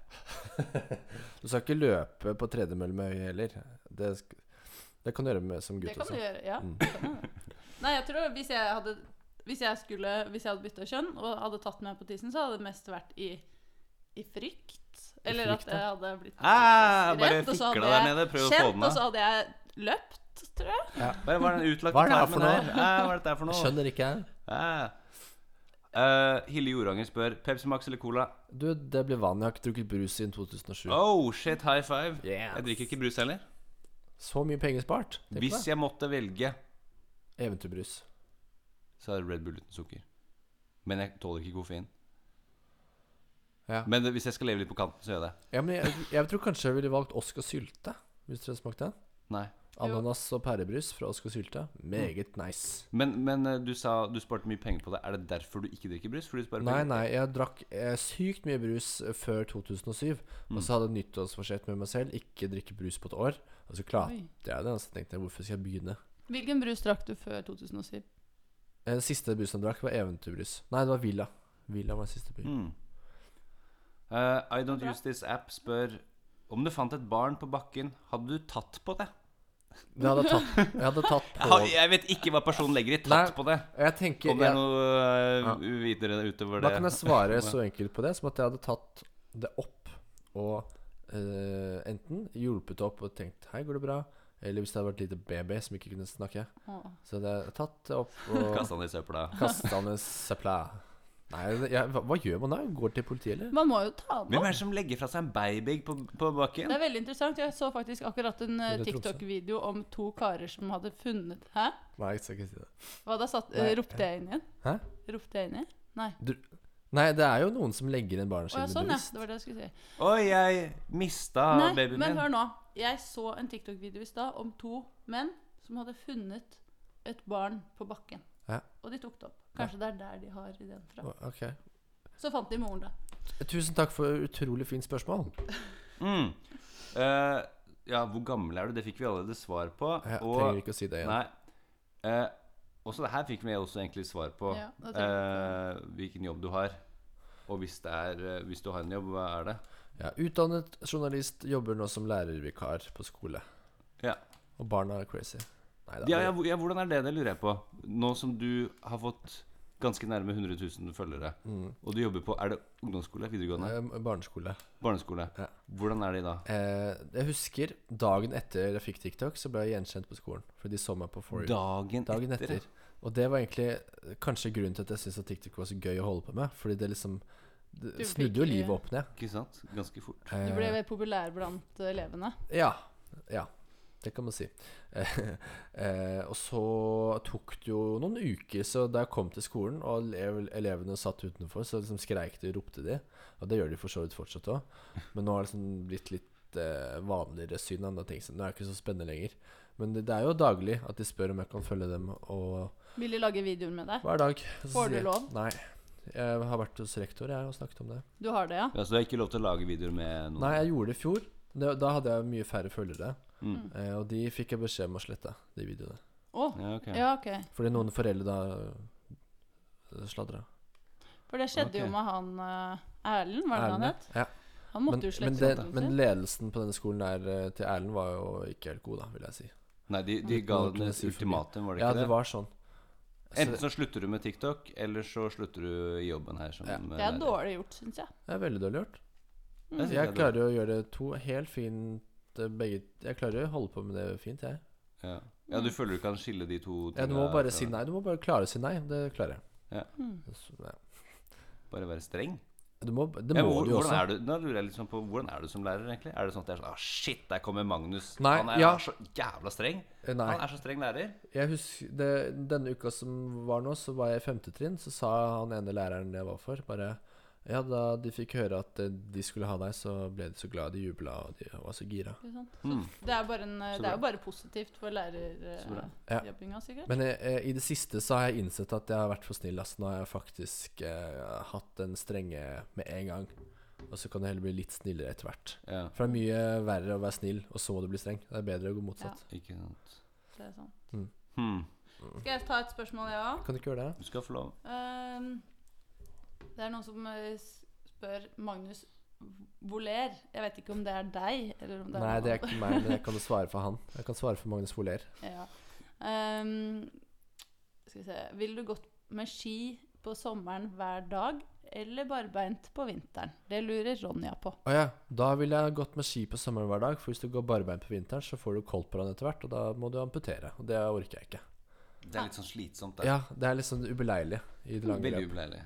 Du skal ikke løpe på tredemølle med øye heller. Det, sk- det kan du gjøre med, som
Det
gutt
kan du
også.
gjøre, ja. det kan jeg gjøre. Nei, jeg tror hvis jeg hadde Hvis jeg skulle Hvis jeg hadde bytta kjønn og hadde tatt meg på tissen, så hadde det mest vært i, i frykt. Eller
frykt,
at jeg hadde blitt
Ah, bare
redd, og så
fikle
hadde
deg
jeg
ned, prøv å få
kjent,
den av.
og så hadde jeg løpt, tror jeg.
Hva hva er den utlagte
Hva er det her
tarmen
for noe?
her? Ah, hva er dette her for
Jeg
noe?
Skjønner ikke.
Ah. Eh, Hille Joranger spør Pepsi Max eller Cola.
Du, det blir vanlig. Jeg har ikke drukket brus siden 2007.
Oh shit, high five.
Yes.
Jeg drikker ikke brus heller.
Så mye penger spart. Tenk på
Hvis
det.
jeg måtte velge,
Eventyrbrus.
så er det Red Bull uten sukker. Men jeg tåler ikke koffein.
Ja.
Men det- hvis jeg skal leve litt på kanten, så gjør jeg det.
Ja, men jeg, jeg tror kanskje jeg ville valgt Osk og sylte, hvis dere smakte den.
Nei.
Ananas og pærebrus fra Osk og sylte.
Mm.
Meget nice.
Men, men eh, du sa du sparte mye penger på det. Er det derfor du ikke drikker brus? Fordi du sparer
Nei,
penger?
nei, jeg drakk eh, sykt mye brus eh, før 2007.
Mm.
Og så hadde jeg nyttårsforsett med meg selv ikke drikke brus på et år. Og så klarte
Oi.
jeg det. Og så tenkte jeg, hvorfor skal jeg begynne?
Hvilken brus drakk du før 2007?
Eh, Den siste brusen jeg drakk, var eventyrbrus. Nei, det var Villa. Villa var den siste brus.
Mm. Eh, I Don't
Bra.
Use This App spør om du fant et barn på bakken, hadde du tatt på det?
Det hadde jeg tatt, jeg hadde tatt
Jeg,
på
har, jeg vet ikke hva personen legger i 'tatt
Nei.
på det'.
Og Jeg tenker
Om det er
jeg,
noe eh, videre utover
Da
det.
kan jeg svare så enkelt på det som at jeg hadde tatt det opp og eh, enten hjulpet opp og tenkt 'hei, går det bra?' Eller hvis det hadde vært lite baby som ikke kunne snakke.
Åh.
Så hadde jeg tatt det opp og
Kasta den i søpla.
kasta den i søpla. Nei, jeg, hva, hva gjør man da? Går til politiet, eller?
Man må jo ta den
Hvem
opp.
er det som legger fra seg en baby på, på bakken?
Det er veldig interessant. Jeg så faktisk akkurat en eh,
Eller Tromsø.
TikTok-video om to karer som hadde funnet Hæ?
Nei, jeg skal ikke si det.
Hva da satt,
Nei.
eh, ropte jeg inn igjen?
Hæ?
Ropte jeg inn igjen? Nei.
Nei, det er jo noen som legger
Å
en
ja,
barneskinn
sånn, ja.
bevisst.
Det var det jeg skulle si.
Oi, jeg mista
Nei,
babyen
men
min.
hør nå. Jeg så en TikTok-video i stad om to menn som hadde funnet et barn på bakken.
Ja.
Og de tok det opp. Kanskje det er der de har ideen fra.
Å, Ok.
Så fant de moren, da.
Tusen takk for utrolig fint spørsmål.
Mm. Eh, ja, hvor gammel er du? Det fikk vi allerede svar på.
Jeg trenger
og
ikke å si det igjen.
Nei. Eh, også det her fikk vi også egentlig svar på.
Ja, det trenger
Eh, hvilken jobb du har. Og hvis, det er, eh, hvis du har en jobb, hva er det?
Ja, utdannet journalist jobber nå som lærervikar på skole.
Ja.
Og barna er crazy. Nei da.
Ja, ja, hvor- ja, hvordan er det? Det lurer jeg på. Nå som du har fått ganske nærme 100 000 følgere,
Mm.
og du jobber på Er det ungdomsskole? Videregående?
Eh, Barneskole.
Barneskole?
Ja.
Hvordan er de da?
Eh, jeg husker dagen etter jeg fikk TikTok, så ble jeg gjenkjent på skolen. For de så meg på Forey.
Dagen,
Dagen etter. Og det var egentlig eh, kanskje grunnen til at jeg syntes at TikTok var så gøy å holde på med. Fordi det liksom
Du
det snudde jo
fikk-
livet opp ned.
Ikke sant? Ganske fort.
Du ble
Eh,
veldig populær blant eh, elevene.
ja. Ja. Det kan man si. Eh, eh, og så tok det jo noen uker, så da jeg kom til skolen og elev- elevene satt utenfor, så liksom skreik de og ropte de. Og det gjør de for så vidt fortsatt òg. Men nå har det liksom blitt litt eh, vanligere syn. enn det, ting som- Nå er det ikke så spennende lenger. Men det, det er jo daglig at de spør om jeg kan følge dem, og
Vil de lage videoer med deg?
hver dag så
Får du
sier jeg-
lov?
Nei. Jeg har vært hos rektor jeg, og snakket om det.
Du har det, ja?
Ja, så du har ikke lov til å lage videoer med noen?
Nei, jeg gjorde det i fjor. Det, da hadde jeg mye færre følgere.
Mm.
Eh, og de fikk jeg beskjed om å slette, de videoene.
Å,
Ja, ok.
ja, ok.
Fordi noen foreldre da eh, sladra.
For det skjedde jo
Ok.
med han eh, Erlend, var det han
Erlend,
het?
ja.
Han
Men,
måtte jo
men,
slette
det,
kontoen
men
sin.
ledelsen på denne skolen der eh, til Erlend var jo ikke helt god, da, vil jeg si.
Nei, de, de ga
Noe
den
å
et
si forbi.
ultimatum, var det
Ja,
ikke
det
det?
var sånn.
Enten
Så,
så slutter du med TikTok, eller så slutter du i jobben her. Som, eh,
Ja.
Det er dårlig gjort, syns jeg.
det er veldig dårlig gjort.
Jeg synes det er
Jeg
dårlig.
klarer jo å gjøre to helt fint eh, begge Jeg klarer jo å holde på med det fint, jeg.
Ja. ja, du føler du kan skille de to
Ja, du må bare si nei. Du må bare klare å si nei. Det klarer jeg.
Ja.
Mm.
Så, ja.
Bare være streng.
Du må, det
Ja,
må
hvor-
du jo
hvordan
også.
er du, nå lurer jeg litt sånn på hvordan er du som lærer, egentlig? Er det sånn at det er sånn ah, Shit, der kommer Magnus.
Nei,
han er
ja.
så jævla streng.
Eh, Nei.
Han er så streng lærer.
Jeg husker det, Denne uka som var nå, så var jeg i femte trinn. Så sa han ene læreren jeg var for, bare Ja, da de fikk høre at eh, de skulle ha deg, så ble de så glad de jubla, og de var så gira.
Ikke sant? Så
Mm.
det, er bare en, eh,
Så
det er
bra.
jo bare positivt for
Så bra.
Ja.
lærerjobbinga, sikkert.
Men eh, eh, i det siste så har jeg innsett at jeg har vært for snill. ass. Nå har jeg faktisk eh, hatt den strenge med en gang. Og så kan du heller bli litt snillere etter hvert.
Ja,
For det er mye verre å være snill, og så må du bli streng. Det er bedre å gå motsatt.
ikke sant.
Det er sant.
Hmm.
Skal jeg ta et spørsmål, jeg òg?
Kan du ikke gjøre det?
Du skal få lov.
Ehm, det er noen som eh, s- spør Magnus Voler. Jeg vet ikke om det er deg, eller om det er
Nei,
noen
det er
andre.
ikke meg, men jeg kan jo svare for han. Jeg kan svare for Magnus Foler.
Ja. Ehm, skal vi se Ville du gått med ski på sommeren hver dag, eller barbeint på vinteren? Det lurer Ronja på.
Å ja, da ville jeg gått med ski på sommeren hver dag. For hvis du går barbeint på vinteren, så får du koldbrann etter hvert, og da må du amputere. Og det orker jeg ikke.
Det er litt sånn slitsomt. Det.
Ja, det er liksom ubeleilig i det lange
Veldig
løp.
ubeleilig.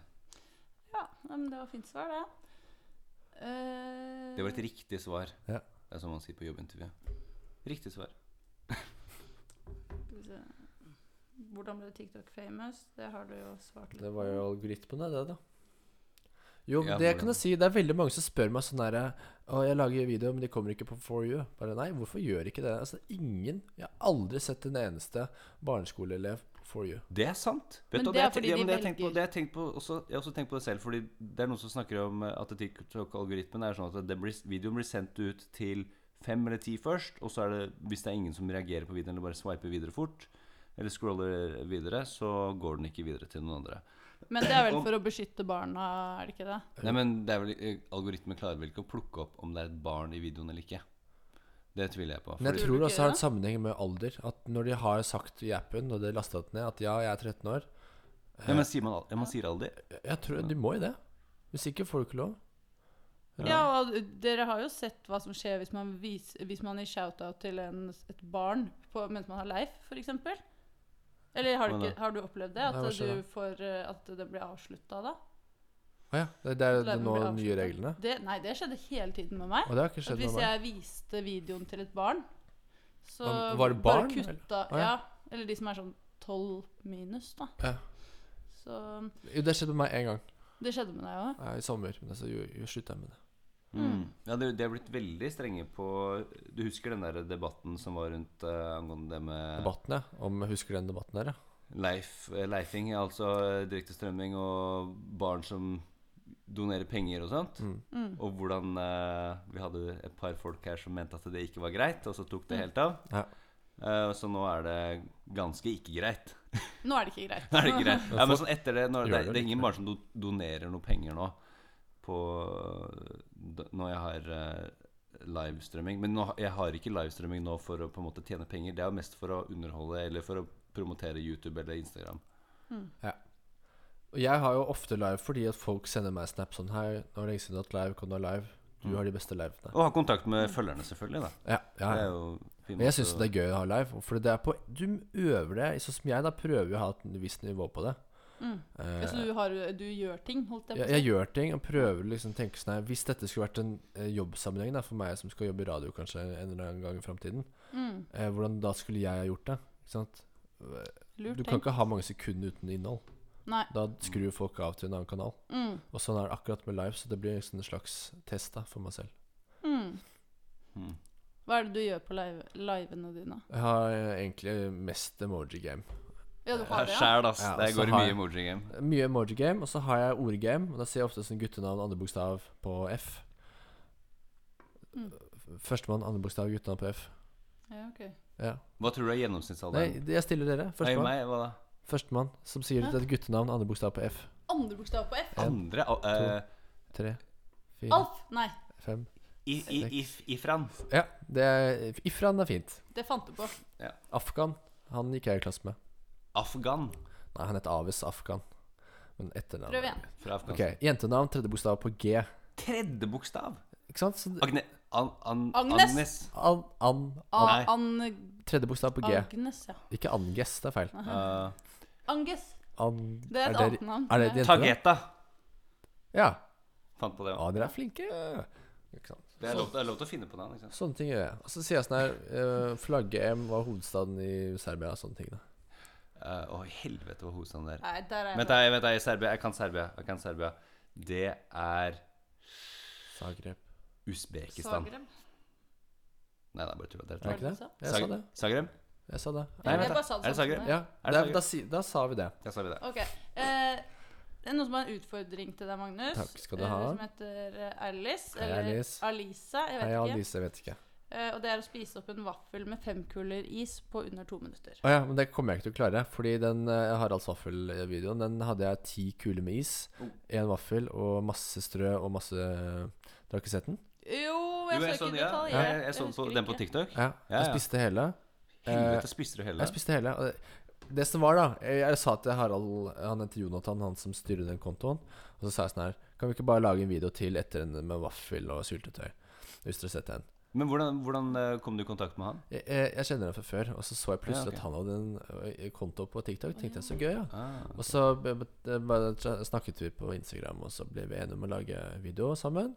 Ja, nei, men det var fint svar, det. Ehm,
Det var et riktig svar.
Ja.
Det er som man sier på jobbintervjuet. Riktig svar.
skal vi se. Hvordan ble TikTok famous? Det har du jo svart litt
Det var jo algoritmene, det, da. Jo,
Ja,
det
hvordan?
kan jeg si. Det er veldig mange som spør meg sånn herre Å, jeg lager video, men de kommer ikke på For you. Bare nei, hvorfor gjør ikke det? Altså, ingen Jeg har aldri sett en eneste barneskoleelev på For you.
Det er sant.
Men
du hva,
det er
har-
fordi
ja,
de
men det har jeg tenkt På,
velger.
det har jeg, tenkt på også, jeg har også tenkt på det selv, fordi det er noen som snakker om eh, at TikTok-algoritmen er sånn at den blir, videoen blir sendt ut til fem eller ti først, og så er det, hvis det er ingen som reagerer på videoen eller bare sveiper videre fort, eller scroller videre, så går den ikke videre til noen andre.
Men det er vel for å beskytte barna, er det ikke det?
Nei, men det er vel, eh, Algoritmen klarer vel ikke å plukke opp om det er et barn i videoen eller ikke. Det tviler jeg på.
Men jeg
fordi-
Tror
tror
du
det
ikke
også har
det?
en sammenheng med alder. At når de har sagt i appen, og det er lastet ned, at ja, jeg er 13 år
ja, men sier man, al- ja, man sier alder?
Jeg- Jeg tror De må jo det. Hvis ikke får du ikke lov.
Ja. og dere har jo sett hva som skjer hvis man, vis, hvis man gir shout-out til en, et barn på, mens man har Leif, f.eks. Eller har du,
Hva da?
ikke, har du opplevd det? At,
Nei, hva skjer
du får, eh, at det blir avslutta da?
Å ja. Det, det er
At Leifen
nå
blir
de nye
avsluttet?
reglene.
Det, nei, det skjedde hele tiden med meg.
Og det har ikke
At
skjedd med
hvis
meg.
jeg viste videoen til et barn, så
Hva- var det barn,
bare kutta
eller? Å, ja.
ja. Eller de som er sånn 12 minus, da.
Ja.
Så
Jo, det skjedde med meg én gang
det skjedde med deg òg.
ja, i sommer. Men så jo- jo, slutta jeg med det.
Mm. Ja, det, det har blitt veldig strenge på Du husker den der debatten som var rundt eh, angående det med
Debatten, ja. Om husker du den debatten der, ja?
Leif, eh, leifing, altså eh, direktestrømming og barn som donerer penger og sånt.
Mm.
Mm.
Og hvordan eh, Vi hadde et par folk her som mente at det ikke var greit, og så tok det helt av.
Ja.
Eh, så nå er det ganske ikke greit.
Nå er det ikke greit.
Nå er det ikke greit. Ja, men sånn etter det, nå,
Gjør
det,
det
er- det er ingen
likevel.
barn som do, donerer noe penger nå på d- Når jeg har eh, livestrømming. Men nå, ha- jeg har ikke livestrømming nå for å på en måte tjene penger. Det er jo mest for å underholde eller for å promotere YouTube eller Instagram.
Og jeg har jo ofte live fordi at folk sender meg snap sånn Hei, nå er det lenge siden du har hatt live. Kan du ha live? Du har de beste livene.
Og ha kontakt med følgerne, selvfølgelig. da
Mm. Ja, ja,
Det
ja.
er jo fin
Men jeg
måte
syns
å-
det er gøy å ha live. For det er på, du øver det, sånn som jeg, da prøver jeg å ha et visst nivå på det.
Mm.
Eh,
Ja, så du, har, du gjør ting, holdt jeg
jeg,
på å
jeg
si?
gjør ting og prøver liksom å tenke sånn her Hvis dette skulle vært en eh, jobbsammenheng da, for meg som skal jobbe i radio kanskje en eller annen gang i framtiden,
Mm.
eh, hvordan da skulle jeg ha gjort det? Ikke sant?
Lurt
Du kan ikke ha mange sekunder uten innhold.
Nei.
Da skrur jo folk av til en annen kanal.
Mm.
Og sånn er det akkurat med live, så det blir liksom en slags test da, for meg selv.
Mm.
Mm.
Hva er det du gjør på live, livene dine?
Jeg har eh, egentlig mest emoji game.
Ja, du
Ja,
har det, ja?
Sjæl, ass.
Ja,
det
og så
går i
har
mye
jeg-
emoji game.
Mye emoji game, og så har jeg ordgame. Og da sier jeg ofte sånn guttenavn, andre bokstav på F.
Mm.
Førstemann, andre bokstav, guttenavn på F.
ja ok.
Ja.
Hva tror du er
Nei,
gjennomsnittsalderen?
det- jeg stiller dere.
Nei,
Førstemann.
meg, hva da?
Førstemann som sier
Hæ?
et guttenavn, andre bokstav på F.
Andre bokstav på F.
En,
Andre? Al- eh,
Tre, fire,
Alf! Nei,
fem
i, i, i, Ifran.
Ja, det er, Ifran er fint.
det fant du på.
Afghan, han gikk jeg i klasse med.
Afghan
Nei, han het Aves Afghan. Men etternavn
Prøv igjen.
fra Afghanistan.
Ok, Jentenavn, tredje bokstav på G.
Tredje bokstav.
Ikke sant? Så,
Agne, an, an,
Agnes.
Agnes.
an, an,
A
Nei.
An
tredje bokstav på G.
Agnes, ja.
Ikke Anges, det er feil.
Eh,
Anges.
An,
Det er et annet navn.
Er det et jentenavn?
Tageta.
Ja.
Fant på det.
ja, dere er flinke. Ikke sant?
Det er lov, det er lov til å finne på navn. ikke sant?
Sånne ting gjør jeg. Og så sier jeg sånn her uh, Flagge-EM var hovedstaden i Serbia og sånne ting. da
Eh, Å, helvete, hva hovedstaden det er.
Nei, der er jeg.
Vent, jeg, vent, jeg, Serbia. Jeg kan Serbia. Jeg kan Serbia. Det er
Zagreb.
Usbekistan.
Zagreb.
Nei, det er bare tull. Det er
Var
tull.
det ikke det? Jeg sa
Zag-
det.
Zagreb?
Jeg sa det.
Nei,
Jeg
vent da.
bare sa det
Er det
sånn som
Zagreb?
det er.
Ja,
Er det
da,
Zagreb?
da, si, da sa vi det.
Ja, sa vi det.
Ok. Eh, det er noen som har en utfordring til deg, Magnus.
Takk skal du
eh,
ha.
Som heter eh, Alice.
Hei,
eller
Alice.
Alisa. Jeg vet
Nei, ja,
ikke.
Lise, jeg vet ikke.
Eh, og det er å spise opp en vaffel med fem kuler is på under to minutter.
Å ja, men det kommer jeg ikke til å klare. Fordi den eh, Haralds vaffel-videoen, den hadde jeg ti kuler med is. Én vaffel og masse strø og masse Dere har ikke sett den?
Jo,
Jo,
jeg,
jeg
så
så
ikke
den, ja.
detaljer.
Ja, jeg- jeg så den
husker
på- den på
ikke.
TikTok.
Ja.
Ja, ja.
Jeg spiste hele.
Helvete, spiste du hele?
Jeg spiste hele. og det- Det som var, da Jeg, jeg sa til Harald Han heter Jonathan, han som styrer den kontoen. Og så sa jeg sånn her Kan vi ikke bare lage en video til etter en med vaffel og syltetøy? Hvis dere har sett den.
Men hvordan, hvordan eh, kom du i kontakt med han?
Jeg, jeg, jeg kjenner den fra før, og så så jeg plutselig
Ja, ok.
at han hadde en ø, konto på TikTok. Tenkte jeg så gøy, ja.
Ah.
Og så b- b- bare tra- snakket vi på Instagram, og så ble vi enige om å lage video sammen.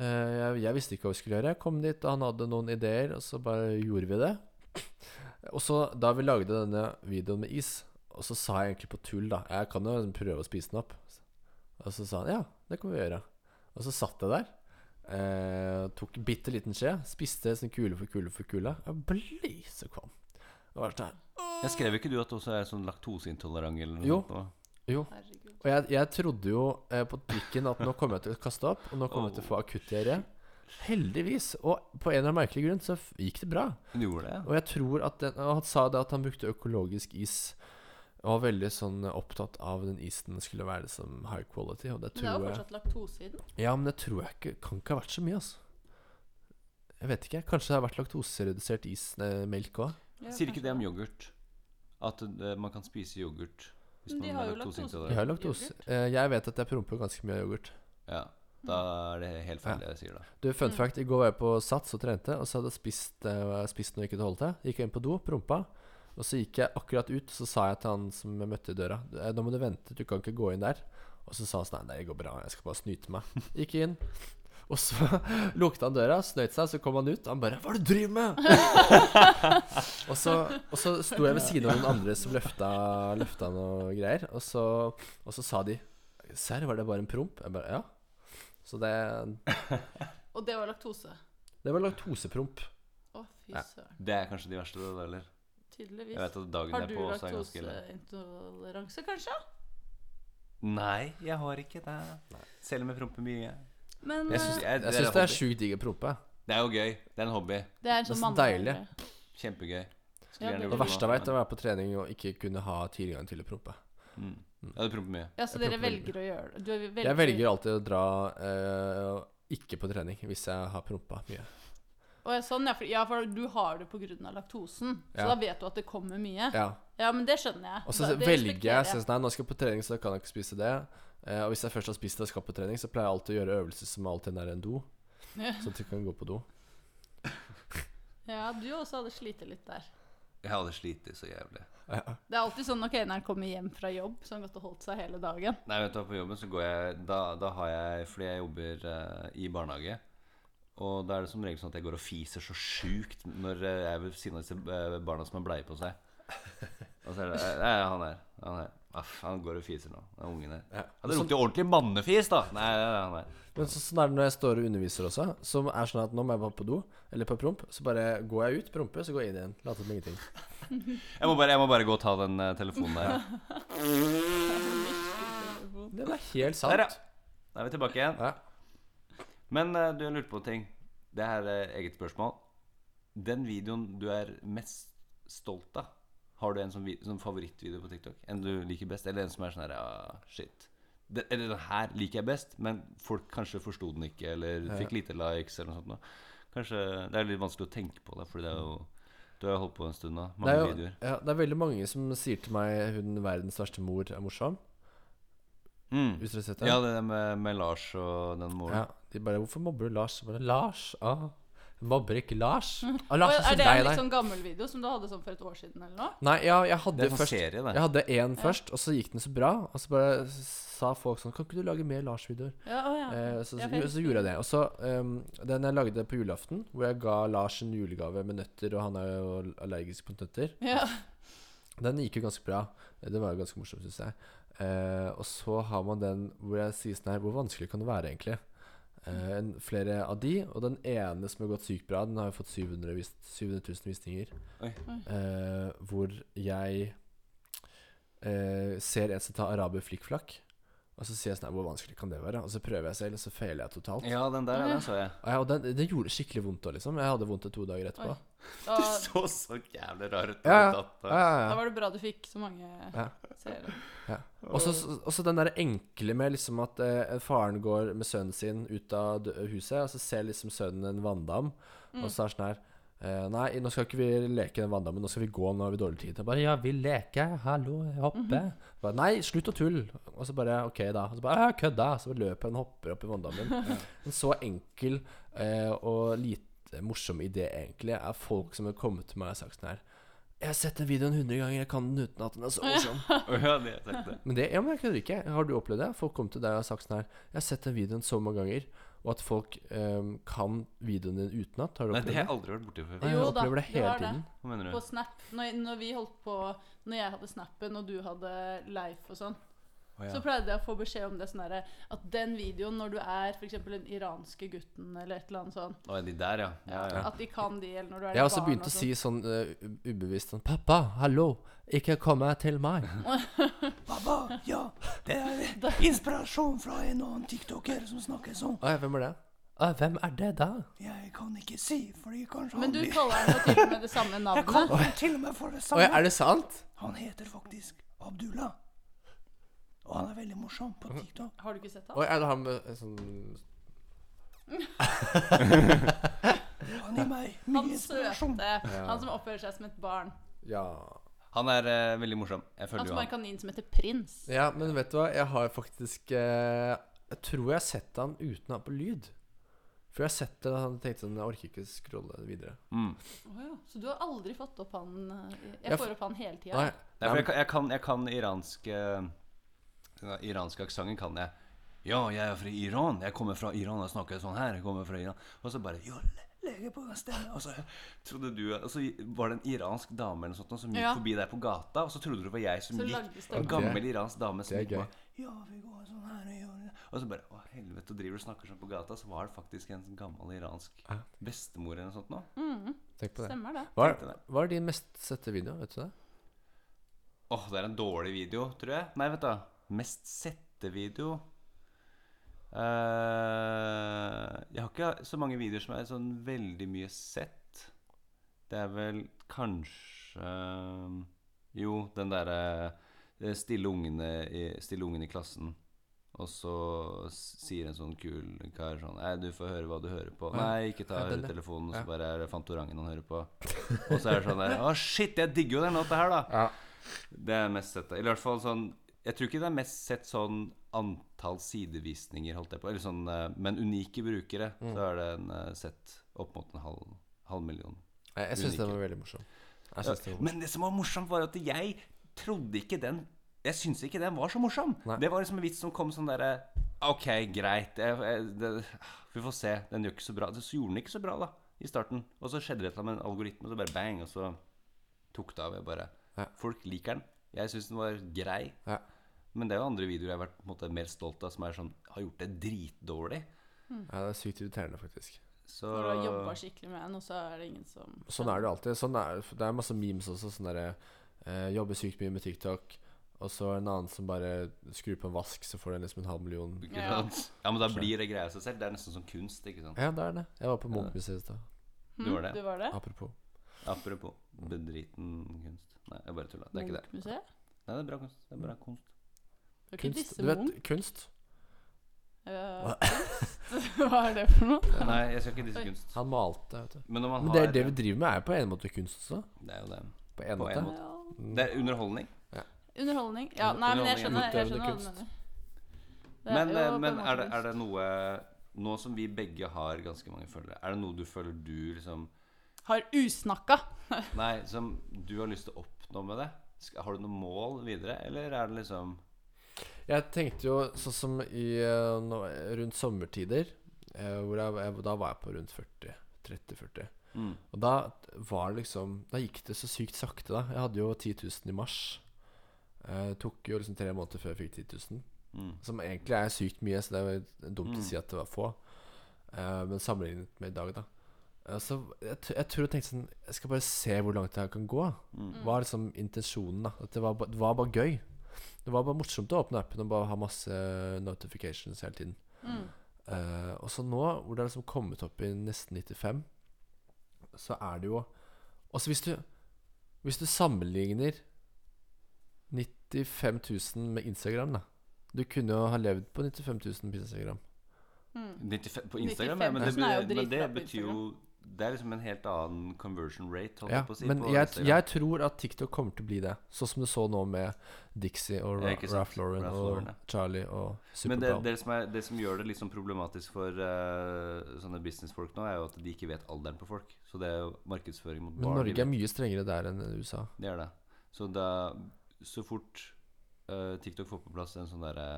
Eh, Jeg, jeg visste ikke hva vi skulle gjøre. Jeg kom dit, og han hadde noen ideer, og så bare gjorde vi det. Og så da vi lagde denne videoen med is, og så sa jeg egentlig på tull, da Jeg kan jo liksom prøve å spise den opp. Og så sa han ja, det kan vi gjøre. Og så satt jeg der. Eh, tok en bitte liten skje, spiste sånn kule for kule for kule. Jeg ble lysekvalm. Og var sånn her
Jeg skrev ikke du at du også er sånn laktoseintolerant eller noe
Jo.
sånt? da?
Jo,
Herregud.
Og jeg, jeg trodde jo eh, på trikken at nå kommer jeg til å kaste opp, og nå kommer jeg til å få akutt diaré. Heldigvis. Og på en eller annen merkelig grunn så f- gikk det bra.
Du gjorde det?
Og jeg tror at den, og han sa det at han brukte økologisk is. Og var veldig sånn opptatt av den isen skulle være som high quality. Og det
Men det er
tror
jo
jeg
fortsatt laktose i den.
Ja, men det tror jeg ikke kan ikke ha vært så mye, altså. Jeg vet ikke. Kanskje det har vært laktoseredusert is, eh, melk òg.
Ja,
Sier ikke
kanskje.
det om yoghurt? At eh, man kan spise yoghurt hvis
Men de
man
har
er
jo
Jeg
laktoseintolerant?
har laktose. Eh, Jeg vet at jeg promper ganske mye av yoghurt.
Ja. Da er det helt feil, det jeg sier da.
Du, fun fact, I går var jeg på Sats og trente, og så hadde jeg spist, eh, spist noe jeg ikke holdt til. Gikk jeg inn på do, prompa, og så gikk jeg akkurat ut, så sa jeg til han som jeg møtte i døra «Du, eh, Nå må du vente, du kan ikke gå inn der. Og så sa han sånn Nei, det går bra, jeg skal bare snyte meg. Gikk inn. Og så lukta han døra, snøyt seg, så kom han ut. Han bare 'Hva er det du driver med?' og, så, og så sto jeg ved siden av noen andre som løfta, løfta noe greier. Og så, og så sa de 'Serr, var det bare en promp?' Jeg bare 'Ja'. Så det,
Og det var laktose.
det var laktosepromp.
Å, fy
Ja.
søren.
Det er kanskje de verste, det, eller? Jeg
Tydeligvis.
vet at dagen
Har du
derpå også er ganske ille.
laktoseintoleranse, kanskje?
Nei, jeg har ikke det. Selv om jeg promper mye.
Men
Jeg syns,
eh,
jeg,
det er
syns det er
hobby.
sjukt digg å prompe.
Det er jo gøy. Det er en hobby.
det er en
det er
sånn
så deilig.
mannehandling.
Kjempegøy.
Ja, det-
Det verste jeg vet, er å være på trening og ikke kunne ha tilgang til å prompe.
Mm. Ja, du promper mye.
Ja, så
Jeg
dere
prøver å velge.
velger å gjøre det? Du er velger.
Jeg velger alltid å dra eh, ikke på trening hvis jeg har prompa mye.
Å, ja, sånn, ja, for, ja, for du har det pga. laktosen. Så
Ja.
da vet du at det kommer mye. Ja,
Ja.
men det skjønner jeg.
Og så
Da- det
velger
respekterer
jeg synes, Nei, nå skal jeg på trening, så da kan jeg ikke spise det. Eh, og hvis jeg først har spist det og skal på trening, så pleier jeg alltid å gjøre øvelser som alltid er en do.
Ja.
Sånn at du kan gå på do.
Ja, du også hadde slitt litt der.
Jeg hadde slitt så jævlig.
Ja.
Det er alltid sånn ok, når han kommer hjem fra jobb, så har han gått og holdt seg hele dagen.
Nei, vet du, hva, på jobben så går jeg Da, da har jeg Fordi jeg jobber eh, i barnehage. Og da er det som regel sånn at jeg går og fiser så sjukt når eh, jeg er ved siden av disse eh, barna som har bleie på seg. Og så er det eh, Nei, han her. Han her. Aff, han går og fiser nå. Den ungen her.
Ja.
Ja, det lukter jo ordentlig mannefis, da! Nei, nei, nei, nei.
Men så, sånn er det når jeg står og underviser også. Som er sånn at Nå må jeg bare på do, eller på promp. Så bare går jeg ut, promper, så går jeg inn igjen. Later som ingenting.
Jeg må bare, jeg må bare gå og ta den eh, telefonen der. ja.
Det er helt
Der, ja.
sant.
Da er vi tilbake igjen.
Ja.
Men eh, du, jeg lurte på en ting. Det her er eget spørsmål. Den videoen du er mest stolt av, har du en sånn, vi- sånn favorittvideo på TikTok? En du liker best, eller en som er sånn her ja, shit. Den, eller den her liker jeg best, men folk kanskje forsto den ikke, eller fikk lite likes, eller noe sånt. nå. Kanskje Det er litt vanskelig å tenke på det, for det er jo Du har jo holdt på en stund nå.
Det
Mange
er, jo,
videoer.
ja, det er veldig mange som sier til meg hun verdens verste mor er morsom.
Mm.
Hvis dere har sett det?
Ja, det der med, med Lars og den moren.
Ja, de bare 'Hvorfor mobber du Lars?' Jeg bare, Lars? Ah, jeg mobber ikke Lars. Ah,
Og
Lars er så
Mm. er det
lei
en litt
deg.
sånn gammel video som du hadde sånn for et år siden eller noe?
Nei, ja, jeg hadde
Det er en sånn
først
serie, det.
Jeg hadde én først, og så gikk den så bra. Og så bare s- sa folk sånn 'Kan ikke du lage mer Lars-videoer?'
Ja, å, ja.
Eh, så,
Ja,
så,
for jeg
så gjorde jeg det. Og så um, den jeg lagde på julaften, hvor jeg ga Lars en julegave med nøtter, og han er jo allergisk på nøtter,
Ja.
den gikk jo ganske bra. Det var jo ganske morsomt, syns jeg. Eh, og så har man den hvor jeg sier sånn her Hvor vanskelig kan det være, egentlig? Eh, en, flere av de, og den ene som har gått sykt bra, den har jo fått 700, vis, 700 000 visninger.
Oi.
Eh, hvor jeg eh, ser en som tar araber flikkflakk, og så sier jeg sånn her Hvor vanskelig kan det være? Og så prøver jeg selv, og så feiler jeg totalt.
Ja, den der, ja, den så jeg.
Og, jeg, og den, det gjorde skikkelig vondt òg, liksom. Jeg hadde vondt i to dager etterpå.
Oi. Da,
Du så så jævlig rar ut.
Ja,
da.
ja, ja, ja.
da var det bra du fikk så mange
Ja.
seere.
Og så- og så den der enkle med liksom at eh, faren går med sønnen sin ut av dø- huset, og så ser liksom sønnen en vanndam, og så er det sånn her eh, Nei, nå skal ikke vi leke den vanndammen, nå skal vi gå, nå har vi dårlig tid. Jeg bare Ja, vi leker, hallo, jeg hopper. bare, nei, slutt å tulle. Og så bare OK, da. Og så bare «Ja, kødda. Så bare løper han og hopper opp i vanndammen. En så enkel eh, og lite morsom idé, egentlig, er folk som har kommet til meg og sagt sånn her Jeg har sett den videoen 100 ganger, jeg kan den uten at den er så morsom.
Å, ja, det tenkte jeg.
Men det ja, men jeg kødder ikke. Har du opplevd det? Folk kom til deg og har sagt sånn her Jeg har sett den videoen så mange ganger, og at folk ehm, kan videoen din utenat. Har du
Nei, det
opplevd
har jeg
det?
aldri vært borti før.
Jeg
Jo da,
opplever det
du
hele
har det.
tiden.
Hva mener
På
du?
Snap, når, når vi holdt på Når jeg hadde Snappen og du hadde Leif og sånn,
Å, ja.
så pleide jeg å få beskjed om det sånn derre At den videoen, når du er f.eks. den iranske gutten eller et eller annet sånn,
Å, de der, ja. ja, ja.
at de kan de, eller når du er
Jeg har også
barn
begynt
og
å si sånn eh, u- ubevisst sånn Pappa, hallo, ikke kom her til meg.
Pappa, ja, det er inspirasjon fra en annen tiktoker som snakker sånn.
Å ja, hvem er det? Å, hvem er det da?
Jeg kan ikke si, fordi kanskje
Men
han
du
blir
kaller den jo til og med det samme
Jeg
navnet.
kaller til og med for det
Å ja,
samme.
er det sant?
Han heter faktisk Abdullah. Og han er veldig morsom på TikTok.
Har du ikke sett
Å
han?
ja, er det han med en sånn
Han gir meg
Han
mye inspirasjon.
søte. Han som oppfører seg som et barn.
Ja.
Han er eh, veldig morsom. Jeg
Han
følger
som
jo
har en
han.
kanin som heter Prins.
ja, men vet du hva? Jeg har faktisk eh, Jeg tror jeg har sett han uten å ha på lyd. For jeg har sett det, og han tenkte sånn Jeg orker ikke scrolle videre.
Mm.
Å ja. Så du har aldri fått opp han eh,
Jeg
Jeg får opp han hele tida.
Nei.
Nei, for jeg, kan- jeg, kan, jeg kan iransk eh, Den iranske aksenten kan jeg. Ja, jeg er fra Iran. Jeg kommer fra Iran og snakker sånn her. Jeg kommer fra Iran. Og så bare ja,
Legger på den stemmen.
Og så trodde du Og så var det en iransk dame eller noe sånt nå som gikk
Ja.
forbi deg på gata, og så trodde du det var jeg som
Så lagde
gikk.
stemmen.
En gammel iransk dame som
det er
gikk
gøy.
bak.
Ja, vi går sånn her og gjør det.
Og så bare Å, helvete, driver du og snakker sånn på gata? Så var det faktisk en sånn gammel iransk
Ja.
bestemor eller noe sånt nå.
Tenk på det.
Stemmer det.
Hva
Tenkte
er,
det.
hva er din mest sette video? Vet du det?
Åh, det er en dårlig video, tror jeg. Nei, vet du. Mest sette video Eh, Jeg har ikke så mange videoer som er sånn veldig mye sett. Det er vel kanskje eh, Jo, den derre eh, stille, ungene i- stille ungene i klassen. Og så s- sier en sånn kul kar sånn Nei, du får høre hva du hører på. Nei, ikke ta
Ja, den der.
høretelefonen. Og
Ja.
så bare er det Fantorangen han hører på. Og så er det sånn der Å, shit, jeg digger jo den låta her, da.
Ja.
Det er mest sett. Eller i hvert fall sånn Jeg tror ikke det er mest sett sånn antall sidevisninger, holdt jeg på. Eller sånn, eh, men unike brukere,
Mm.
så er det en eh, sett opp mot en halv, halv million.
Nei, Jeg syns den
Unike.
var veldig morsom. Jeg synes den var morsom.
Men det som var morsomt, var at jeg trodde ikke den Jeg syntes ikke den var så morsom.
Nei.
Det var liksom en vits som kom sånn derre OK, greit. Jeg, jeg, det, vi får se. Den gjør ikke så bra. Så gjorde den ikke så bra, da, i starten. Og så skjedde det et eller annet med en algoritme, og så bare bang, og så tok det av. Jeg bare
Ja.
Folk liker den. Jeg syns den var grei.
Ja.
Men det er jo andre videoer jeg har vært på en måte, mer stolt av, som er sånn, har gjort det dritdårlig.
Ja, det er sykt irriterende, faktisk.
Så
Når du har jobba skikkelig med en, og så er det ingen som
Sånn er det jo alltid. Sånn er, det er masse memes også. Sånn derre eh, Jobber sykt mye med TikTok, og så en annen som bare skrur på en vask, så får den liksom en halv million.
ikke
Ja.
sant? Ja, men da blir det greia seg selv. Det er nesten som kunst, ikke sant.
Ja, det er det. Jeg var på Munch-museet i stad.
Du var
Hm, Du
det.
var det?
Apropos.
Apropos bedriten kunst. Nei, jeg bare tulla. Det er ikke det.
Munch-museet?
Nei, det er bra kunst. Det er bra
Mm.
kunst.
Det er ikke
Kunst.
disse
Du vet,
Munch?
kunst.
Eh, kunst? Hva er det for noe?
Nei, jeg skal ikke disse kunst.
Han malte, vet du.
Men når man
Men det,
har
er det vi driver med, er jo på en måte kunst også.
Det er jo det.
På en
På en
måte.
måte.
Ja.
Det er underholdning.
Underholdning. Ja, nei, men jeg skjønner, jeg
Utøvende
skjønner hva du
kunst.
mener. Det er
Men,
jo
eh,
på en
men
måte
er, det, er
kunst.
det noe Nå som vi begge har ganske mange følgere, er det noe du føler du liksom
Har usnakka!
Nei, som du har lyst til å oppnå med det? Skal- Har du noe mål videre, eller er det liksom
Jeg tenkte jo sånn som i eh, nå, rundt sommertider eh, hvor jeg, jeg, Da var jeg på rundt 40. 30-40.
Mm.
Og da var det liksom Da gikk det så sykt sakte, da. Jeg hadde jo 10 000 i mars. Eh, Eh, tok jo liksom tre måneder før jeg fikk 10 000.
Mm.
Som egentlig er sykt mye, så det er jo dumt
Mm.
å si at det var få. Eh, men sammenlignet med i dag, da. Eh, så jeg, t- jeg tror jeg tenkte sånn Jeg skal bare se hvor langt det her kan gå.
Mm.
Hva er liksom intensjonen, da? At det var, ba- det var bare gøy. Det var bare morsomt å åpne appen og bare ha masse eh, notifications hele tiden.
Mm.
Eh, og så nå, hvor det er liksom kommet opp i nesten 95, så er det jo Også hvis du Hvis du sammenligner 95 000 med Instagram, da. Du kunne jo ha levd på 95 000 på Instagram.
Mm.
95 på Instagram, ja, men,
95 er jo
det, be- men
dritbra
det
på
betyr jo Det er liksom en helt annen conversion rate, holdt
Ja,
jeg på å si.
men
på
jeg,
Instagram.
jeg tror at TikTok kommer til å bli det. Sånn som du så nå med Dixie og
Ja,
Ra
ikke sant.
Ralph Lauren
Ralph
og
Lauren, ja.
Charlie og
men det,
Superbowl.
det, som er, det som gjør det litt sånn problematisk for eh, sånne businessfolk nå, er jo at de ikke vet alderen på folk. Så det er jo markedsføring mot
Men
barn. de
Norge er
vet-
mye strengere der enn USA.
Det er det. Så da Så fort eh, TikTok får på plass en sånn derre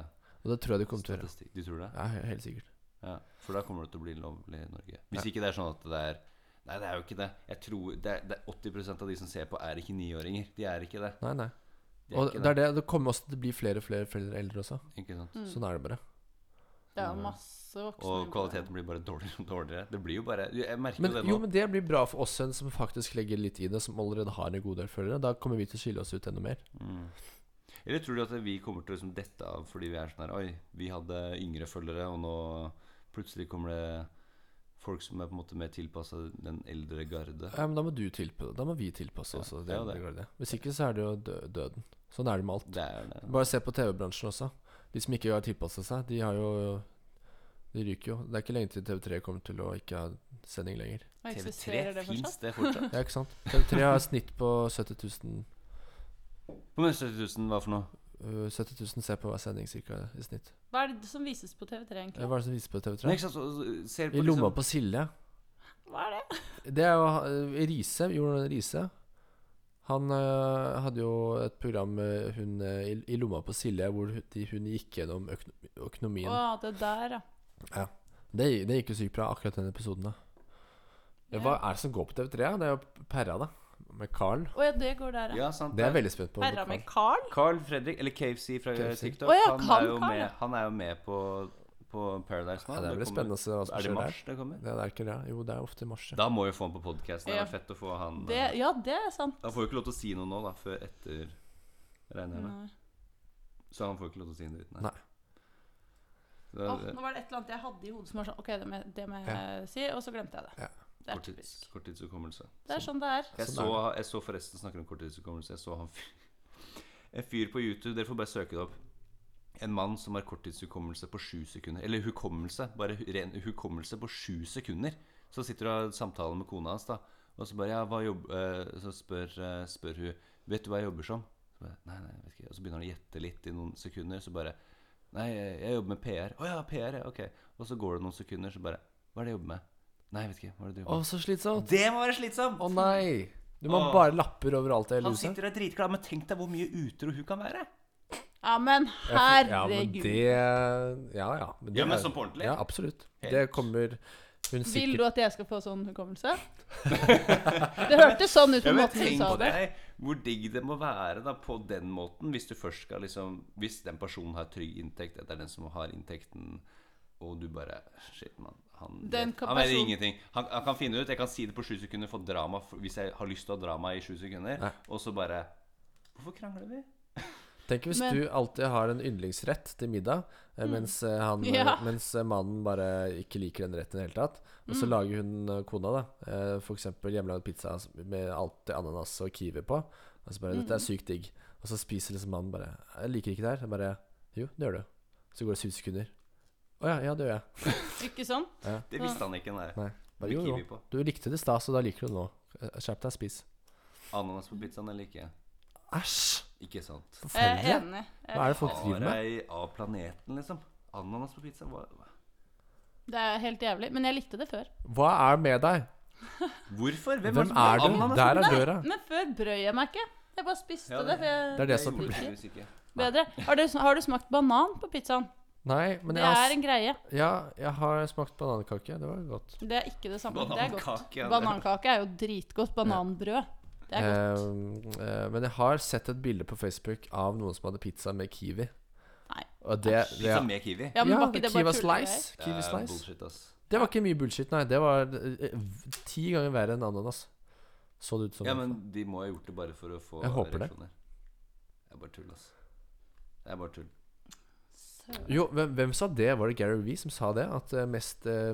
Og det tror jeg de kommer til å gjøre.
statistikk Du tror det?
Ja, he- helt sikkert.
Ja, For da kommer det til å bli lovlig i Norge. Hvis ikke det er sånn at det er Nei, det er jo ikke det. Jeg tror Det er, det er 80 av de som ser på, er ikke niåringer. De er ikke det.
Nei, nei.
De
Og
ikke
det er det. Det kommer også til å bli flere og flere foreldre eldre også.
Ikke sant?
Sånn er det bare.
mm. Det er jo masse voksne
Og kvaliteten blir bare dårligere og dårligere. Det blir jo bare Jeg merker
Men,
jo det nå.
jo, men det blir bra for oss en som faktisk legger litt i det, som allerede har en god del følgere. Da kommer vi til å skille oss ut enda mer.
Mm. Eller tror du at vi kommer til å liksom dette av fordi vi er sånn her Oi, vi hadde yngre følgere, og nå plutselig kommer det folk som er på en måte mer tilpassa den eldre garde.
Ja, men da må du tilpasse Da må vi tilpasse oss. og det
ja, det.
blir det. Hvis ikke så er det jo dø døden. Sånn er det med alt.
Det er det.
Bare se på TV-bransjen også. De som ikke har tilpassa seg, de har jo De ryker jo. Det er ikke lenge til TV3 kommer til å ikke ha sending lenger.
Og eksisterer
TV3
det
fins
fortsatt?
det fortsatt?
Ja, ikke sant? TV3 har et snitt på 70 000
Hvor mange 70 000 var for noe?
øh, 70 000 ser på hver sending cirka i snitt.
Hva er det som vises på TV3,
Eh,
egentlig?
Hva er det som vises på
Nei,
TV3?
ikke sant, så- så ser
I
på
lomma
liksom
på Silje.
Hva er det?
Det er jo eh, Riise, Jordan Riise. Han eh, hadde jo et program med hun eh, i, i lomma på Silje, hvor hun, de, hun gikk gjennom økono- økonomien.
Å, det der, ja.
Ja. Det, det gikk jo sykt bra, akkurat den episoden. da ja, Hva er det som går på TV3? ja? Det er jo Perra, da. Med Carl.
Å ja, det går der, ja.
Ja, sant.
Det er jeg veldig spent på. med
Herra
Carl.
med Carl?
Carl Fredrik, eller KFC fra
KFC.
TikTok,
Å ja,
han,
Carl,
er jo
Carl,
med,
ja.
han er jo med på, på Paradise nå.
Ja, det blir spennende å se hva som
Er det i
skjer der.
mars det kommer?
Det er ikke det. Jo, det er ofte i mars. Ja.
Da må vi få han på podkasten. Det
Ja.
er fett å få han
Det,
eh,
ja, det er sant.
Han får jo ikke lov til å si noe nå, da, før etter, regner jeg med.
Nei.
Så han får ikke lov til å si noe uten
Nei.
Så,
Åh,
eh,
nå var det et eller annet jeg hadde i hodet som var sånn OK, det må jeg- det må jeg si, og så glemte jeg det.
Ja.
Det er
korttids,
typisk.
korttidshukommelse.
Det er sånn det er.
Jeg
Sånn
så, jeg så forresten snakker om korttidshukommelse. Jeg så han fyr, en fyr på YouTube. Dere får bare søke det opp. En mann som har korttidshukommelse på sju sekunder. Eller hukommelse. Bare hu- ren hukommelse på sju sekunder. Så sitter du og har samtale med kona hans, da. Og så bare ja, hva jobb, eh, Så spør, eh, spør hun Vet du hva jeg jobber som? Så bare, nei, nei, jeg vet ikke. Og så begynner han å gjette litt i noen sekunder. Så bare Nei, jeg jeg jobber med PR. Å ja, PR, ja, ok. Og så går det noen sekunder, så bare Hva er det jeg jobber med? Nei, jeg vet ikke. Hva er det
Å,
du jobber med?
så slitsomt!
Det må være slitsomt!
Å nei! Du må
Åh.
bare lapper overalt i hele
Han
huset.
sitter der dritglad, men tenk deg hvor mye utro hun kan være.
Ja, men
Ja, men
herregud.
det Ja, ja. Men det
Ja, men
er-
sånn på ordentlig?
Ja, absolutt.
Helt.
Det kommer hun
Vil
sikkert
du at jeg skal få sånn hukommelse? Det hørtes sånn ut på
Ja, men
måten du
tenk
sa det.
deg hvor digg det må være da på den måten, hvis du først skal liksom Hvis den personen har trygg inntekt, det er den som har inntekten, og du bare Shit, mann. Han,
Den
vet-
kan
han vet
person-
ingenting. Han, han kan finne ut Jeg kan si det på sju sekunder, få drama f- hvis jeg har lyst til å ha drama i sju sekunder,
Nei.
og så bare Hvorfor krangler vi?
Tenk hvis
Men- Mm.
du alltid har en yndlingsrett til middag, eh, mens, eh, han, eh,
Ja.
mens eh, mannen bare ikke liker den retten i det hele tatt. Og
Mm.
så lager hun eh, kona da eh, for eksempel hjemmelagd pizza s- med alt det ananas og kiwi på. Og så bare
Mm.
'Dette er sykt digg'. Og så spiser liksom mannen bare 'Jeg liker ikke det her'. Jeg bare 'Jo, det gjør du'. Så går det syv sekunder. 'Å ja, ja, det gjør jeg'.
Ikke sånn?
Det visste han ikke, nei.
Nei. Bare,
Med
jo,
kiwi
jo.
på.
Du likte det i stad, så da liker du det nå. Eh, Skjerp deg, spis.
Ananas på pizzaen eller ikke?
Æsj!
Ikke sant.
Jeg er
Forferdelig.
enig.
Hva er det folk driver med?
Harei av planeten, liksom. Ananas på pizza? Hva? hva-
Det er helt jævlig. Men jeg likte det før.
Hva er med deg?
Hvorfor? Hvem,
Hvem er du? Der er døra.
Men før brød jeg meg ikke. Jeg bare spiste
Ja,
det.
det-
for jeg
Det er det som er
likte
problemet.
ikke.
ikke.
Bedre. Har du, har du smakt banan på pizzaen?
Nei, men
Det
jeg har,
er en greie.
ja, jeg har smakt banankake. Det var godt.
Det er ikke det samme. Det er godt.
Banankake, ja, det-
Banankake er jo dritgodt. Bananbrød. Det er godt.
Eh, eh, men jeg har sett et bilde på Facebook av noen som hadde pizza med kiwi.
Nei.
Og det, det
Pizza med kiwi.
Ja, men var ikke det bare
Kiwa
tullegreier?
Slice. Kiwi
Det er
slice.
Bullshit, ass.
Det var ikke mye bullshit, nei. Det var eh, eh, ti ganger verre enn ananas. Så det ut som.
Ja,
i hvert
men
fall.
de må ha gjort det bare for å få
Jeg håper det.
reaksjoner. Det er bare tull, ass. Det er bare tull.
Søren.
Jo, hvem, hvem sa det? Var det Gary Vee som sa det? At eh, mest eh,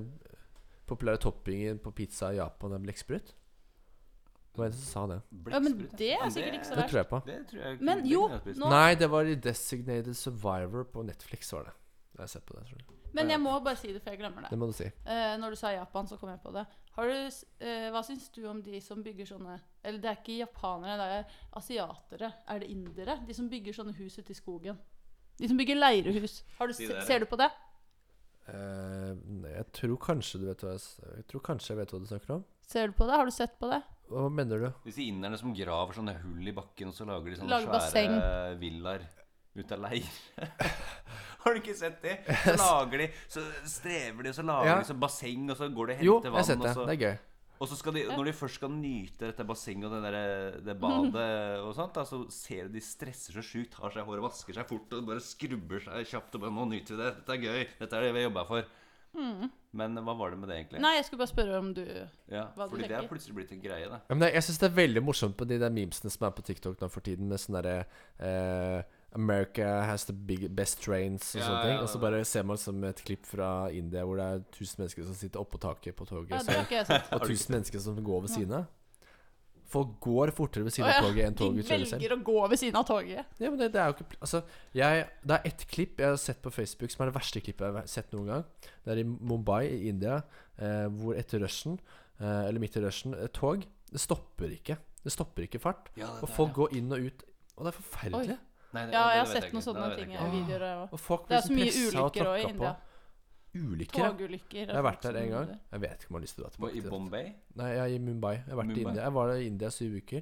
populære toppingen på pizza i Japan er blekksprut? Det var en som sa det.
Ja, men
Blekksprut,
det
ja.
er
Men
sikkert ikke så
Det
verst.
tror jeg på.
Det tror jeg
Men
det
jo,
kunne jeg spist.
nå-
Nei, det var i Designated Survivor på Netflix, var det. Jeg har sett på det, tror jeg.
Men jeg må bare si det før jeg glemmer det.
Det må du si.
Eh, når du sa Japan, så kom jeg på det. Har du, s- eh, hva syns du om de som bygger sånne Eller det er ikke japanere, det er asiatere. Er det indere? De som bygger sånne hus ute i skogen. De som bygger leirehus. Har du,
De
se-
der.
ser du på det?
Eh, nei, jeg tror kanskje du vet hva jeg, s- jeg tror kanskje jeg vet hva du snakker om.
Ser du på det? Har du sett på det?
Hva mener du?
Disse inderne som graver sånne hull i bakken, og så lager de sånne
Lager basseng.
svære villaer ut av leir. Har du ikke sett det? Så lager de, så strever de, og så lager
Ja.
de så basseng, og så går de og
Jo,
henter
jeg
vann.
har sett det.
Og, så,
Det er gøy.
og så skal de, når de først skal nyte dette bassenget og det, der, det badet og sånt, da, så ser du de stresser så sjukt, tar seg i håret, vasker seg fort og bare skrubber seg kjapt og bare 'Nå nyter vi det. Dette er gøy. Dette er det vi har jobba for'.
Mm.
Men hva var det med det, egentlig?
Nei, jeg skulle bare spørre om du
Ja,
Hva du
fordi det er
tenker.
plutselig blitt en greie, da.
Ja, men det, jeg syns det er veldig morsomt på de der memesene som er på TikTok nå for tiden, med sånn derre eh, America has the big, best trains og
Ja,
sånne ting.
ja,
og så
det-
bare ser man som et klipp fra India hvor det er 1000 mennesker som sitter oppå taket på toget,
ja, Det
så,
har ikke jeg sett.
og 1000 mennesker som går ved siden av. Folk går fortere ved siden
Å ja,
av toget enn toget
De
kjører selv.
velger å gå ved siden av toget.
Ja, men det, det er jo ikke pl- Altså, jeg, det er ett klipp jeg har sett på Facebook som er det verste klippet jeg har sett noen gang. Det er i Mumbai i India, eh, hvor etter rushen, eh, eller midt i rushen, et tog Det stopper ikke. Det stopper ikke fart.
Ja, det
og
der,
folk går inn og ut. Og det er forferdelig.
Nei, det-
Ja,
det
jeg har
vet
sett
ikke.
noen sånne
Det vet jeg
ting
ikke.
i videoer. jeg også.
Og folk
Det er så
blir
mye
liksom pressa og
ulykker også i
tråkka på.
India.
Ulykker? ja.
Togulykker. og
Jeg har
folk
vært der
som
en gang.
dør.
Jeg vet ikke om jeg har lyst til å dra
Hva,
tilbake
I
til det.
Bombay?
Nei, jeg er i Mumbai. Jeg har vært i
Mumbai.
India. Jeg var der i India i syv uker.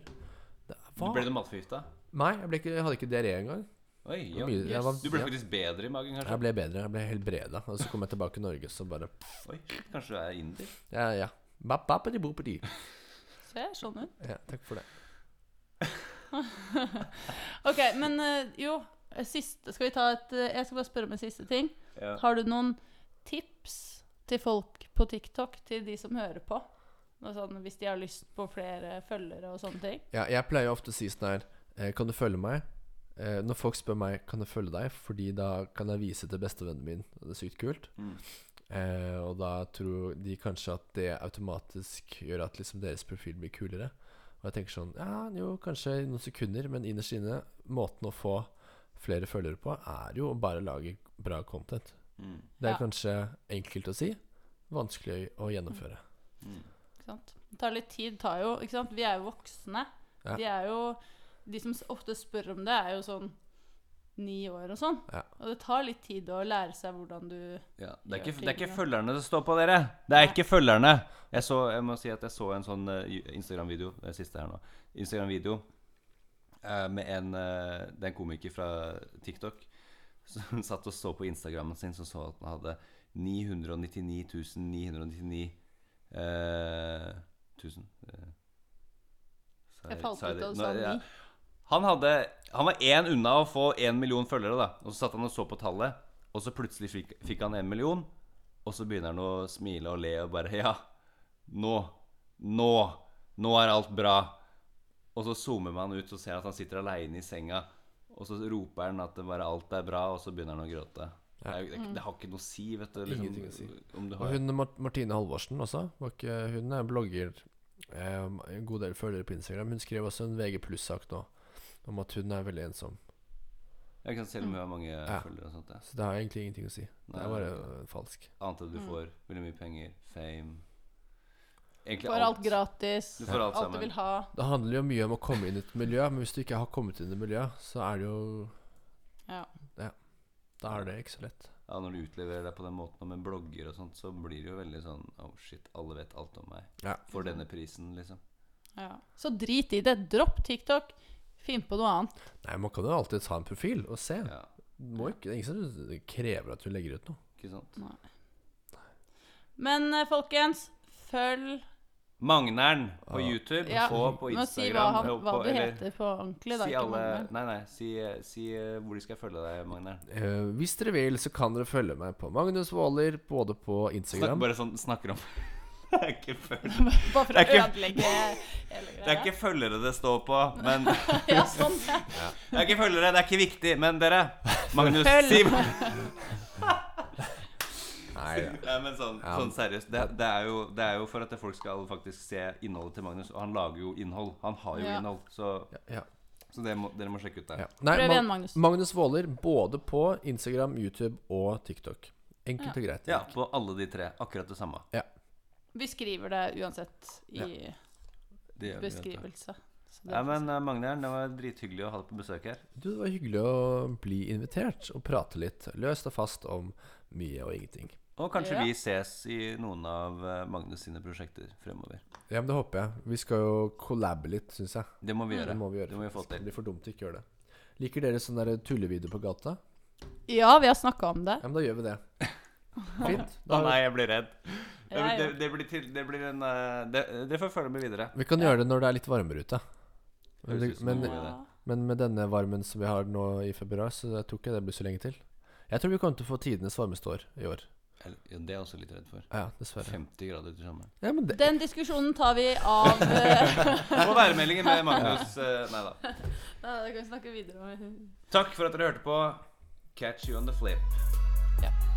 Det, hva?
Ble du matforgifta?
Nei, jeg, ble ikke, jeg hadde ikke diaré engang.
Oi,
Det
ja.
var mye- jeg var-
Du ble
ja.
faktisk bedre i magen, kanskje?
Jeg ble bedre, jeg ble helbreda. Og så kom jeg tilbake til Norge, så bare
Oi, shit, kanskje du er inder?
Ja, ja. Bap, bap, bidi, bop, bidi.
Ser sånn ut.
Ja, takk for det.
Ok, men eh, jo siste, Skal vi ta et eh, Jeg skal bare spørre om en siste ting.
Ja.
Har du noen tips til folk på TikTok, til de som hører på? Noe sånn, hvis de har lyst på flere følgere og sånne ting.
Ja, jeg pleier jo ofte å si sånn her eh, Kan du følge meg? Eh, Når folk spør meg Kan jeg følge deg, fordi da kan jeg vise til bestevennen min. og Det er sykt kult.
Mm.
Eh, og da tror de kanskje at det automatisk gjør at liksom deres profil blir kulere. Og jeg tenker sånn Ja, jo, kanskje i noen sekunder, men innerst inne Måten å få flere følgere på, er jo å bare lage bra content.
Mm.
Det er
Ja.
kanskje enkelt å si, vanskelig å gjennomføre.
Ikke sant? Det tar litt tid. Tar jo, ikke sant? Vi er jo voksne.
Ja.
De, er jo, de som s- ofte spør om det, er jo sånn ni år og sånn.
Ja.
Og det tar litt tid å lære seg hvordan du
Ja. Det, er ikke,
Gjør
det er ikke
tingene.
følgerne det står på, dere! Det er
Nei.
ikke følgerne! Jeg, så, jeg må si at jeg så en sånn eh, Instagram-video Det er siste her nå. Instagram-video eh, med en eh, Det er en komiker fra TikTok som satt og så på Instagrammen sin, som så at han hadde 999 999 eh, 1000 eh, sa
Jeg falt
sa
ut
det?
og
Nå-
sa
ja.
ni.
Han, hadde, han var én unna å få én million følgere, da. Og så satt han og så på tallet, og så plutselig fikk, fikk han én million. Og så begynner han å smile og le og bare Ja, nå. Nå. Nå er alt bra. Og så zoomer man ut og ser at han sitter aleine i senga. Og så roper han at det bare alt er bra, og så begynner han å gråte. Det, er, jo- det, er ikke- det har ikke noe å si, vet du. liksom,
Ingenting å si.
Om du
Og
har,
hun Mar- Martine Halvorsen også. Var ikke, hun er blogger. Eh, en god del følgere på Instagram. Hun skrev også en VG pluss-sak nå om at hun er veldig ensom.
jeg kan selv om hun har mange
Ja.
følgere og sånt. ja.
Så det har egentlig ingenting å si. Det
Nei.
er bare øh, falsk.
Annet enn at du
Mm.
får veldig mye penger, fame Egentlig
Får alt gratis.
Du får
alt
alt
du
sammen.
vil ha.
Det handler jo mye om å komme inn i et miljø, men hvis du ikke har kommet inn i miljøet, så er det jo
Ja.
Da er det ikke så lett.
Ja, når du utleverer deg på den måten og med blogger og sånt, så blir det jo veldig sånn Oh shit, alle vet alt om meg.
Ja.
For denne prisen, liksom.
Ja. Så drit i det. Dropp TikTok. Finn på noe annet.
Nei, man kan jo alltid ta en profil og se.
Ja,
Må ikke, det er ingen som krever at du legger ut noe.
ikke sant?
Men eh, folkens, følg
Magnern på YouTube
Ja,
og på
Nå si hva,
Instagram.
han,
og
hva
på-
du
eller-
heter på ordentlig. Da,
Si
ikke
alle
Magnus.
Nei, nei, si, si eh, hvor de skal følge deg, Magnern.
Eh, hvis dere vil, så kan dere følge meg på Magnus Waaler, både på
Snak,
Instagram
bare sånn snakker om Det er ikke føl-
Bare for
Det
å
er ikke-
ødelegge hele
det er
greia.
ikke følgere det står på, men Det
Ja, sånn, ja.
er ikke følgere, det er ikke viktig, men dere Magnus, si Nei,
Nei, ja.
men sånn,
Ja.
sånn seriøst. Det, det, er jo, det er jo for at folk skal faktisk se innholdet til Magnus. Og han lager jo innhold. Han har jo
Ja.
innhold. Så,
Ja,
så det må, dere må sjekke ut det.
ja. Nei,
Prøv
Mag-
igjen, Magnus.
Magnus Waaler, både på Instagram, YouTube og TikTok. Enkelt og greit.
Ja, på alle de tre. Akkurat det samme.
Vi skriver det uansett i
Det gjør vi, vet du.
beskrivelse. Så det
Ja, men eh, Magnern, det var drithyggelig å ha deg på besøk her.
Du, det var hyggelig å bli invitert og prate litt løst og fast om mye og ingenting.
Og kanskje
Ja.
vi ses i noen av eh, Magnus sine prosjekter fremover.
Ja, men det håper jeg. Vi skal jo collabe litt, syns jeg.
Det
Mm.
må vi gjøre.
Det må vi gjøre.
Det må vi få
Det
til.
blir for dumt å ikke gjøre det. Liker dere sånne der tullevideo på gata?
Ja, vi har snakka om det.
Ja, men da gjør vi det. Fint.
Å
Da,
nei, jeg blir redd. Det,
Jeg
det,
òg.
det, blir, til, det blir en eh, Det, det får følge med videre.
vi kan gjøre det når det er litt varmere ute. Men,
Høres
det,
ut som en
men,
god idé.
men med denne varmen som vi har nå i februar, så jeg tror ikke det blir så lenge til. Jeg tror vi kommer til å få tidenes varmeste år i år.
Eller, ja, det er jeg også litt redd for.
Ja, dessverre.
50 grader til sommeren.
Ja, men det,
Den diskusjonen Sånn tar vi av eh,
Og værmeldingen med Magnus. eh, Nei da.
Nei, det kan vi snakke videre om.
Takk for at dere hørte på. Catch you on the flip.
Ja.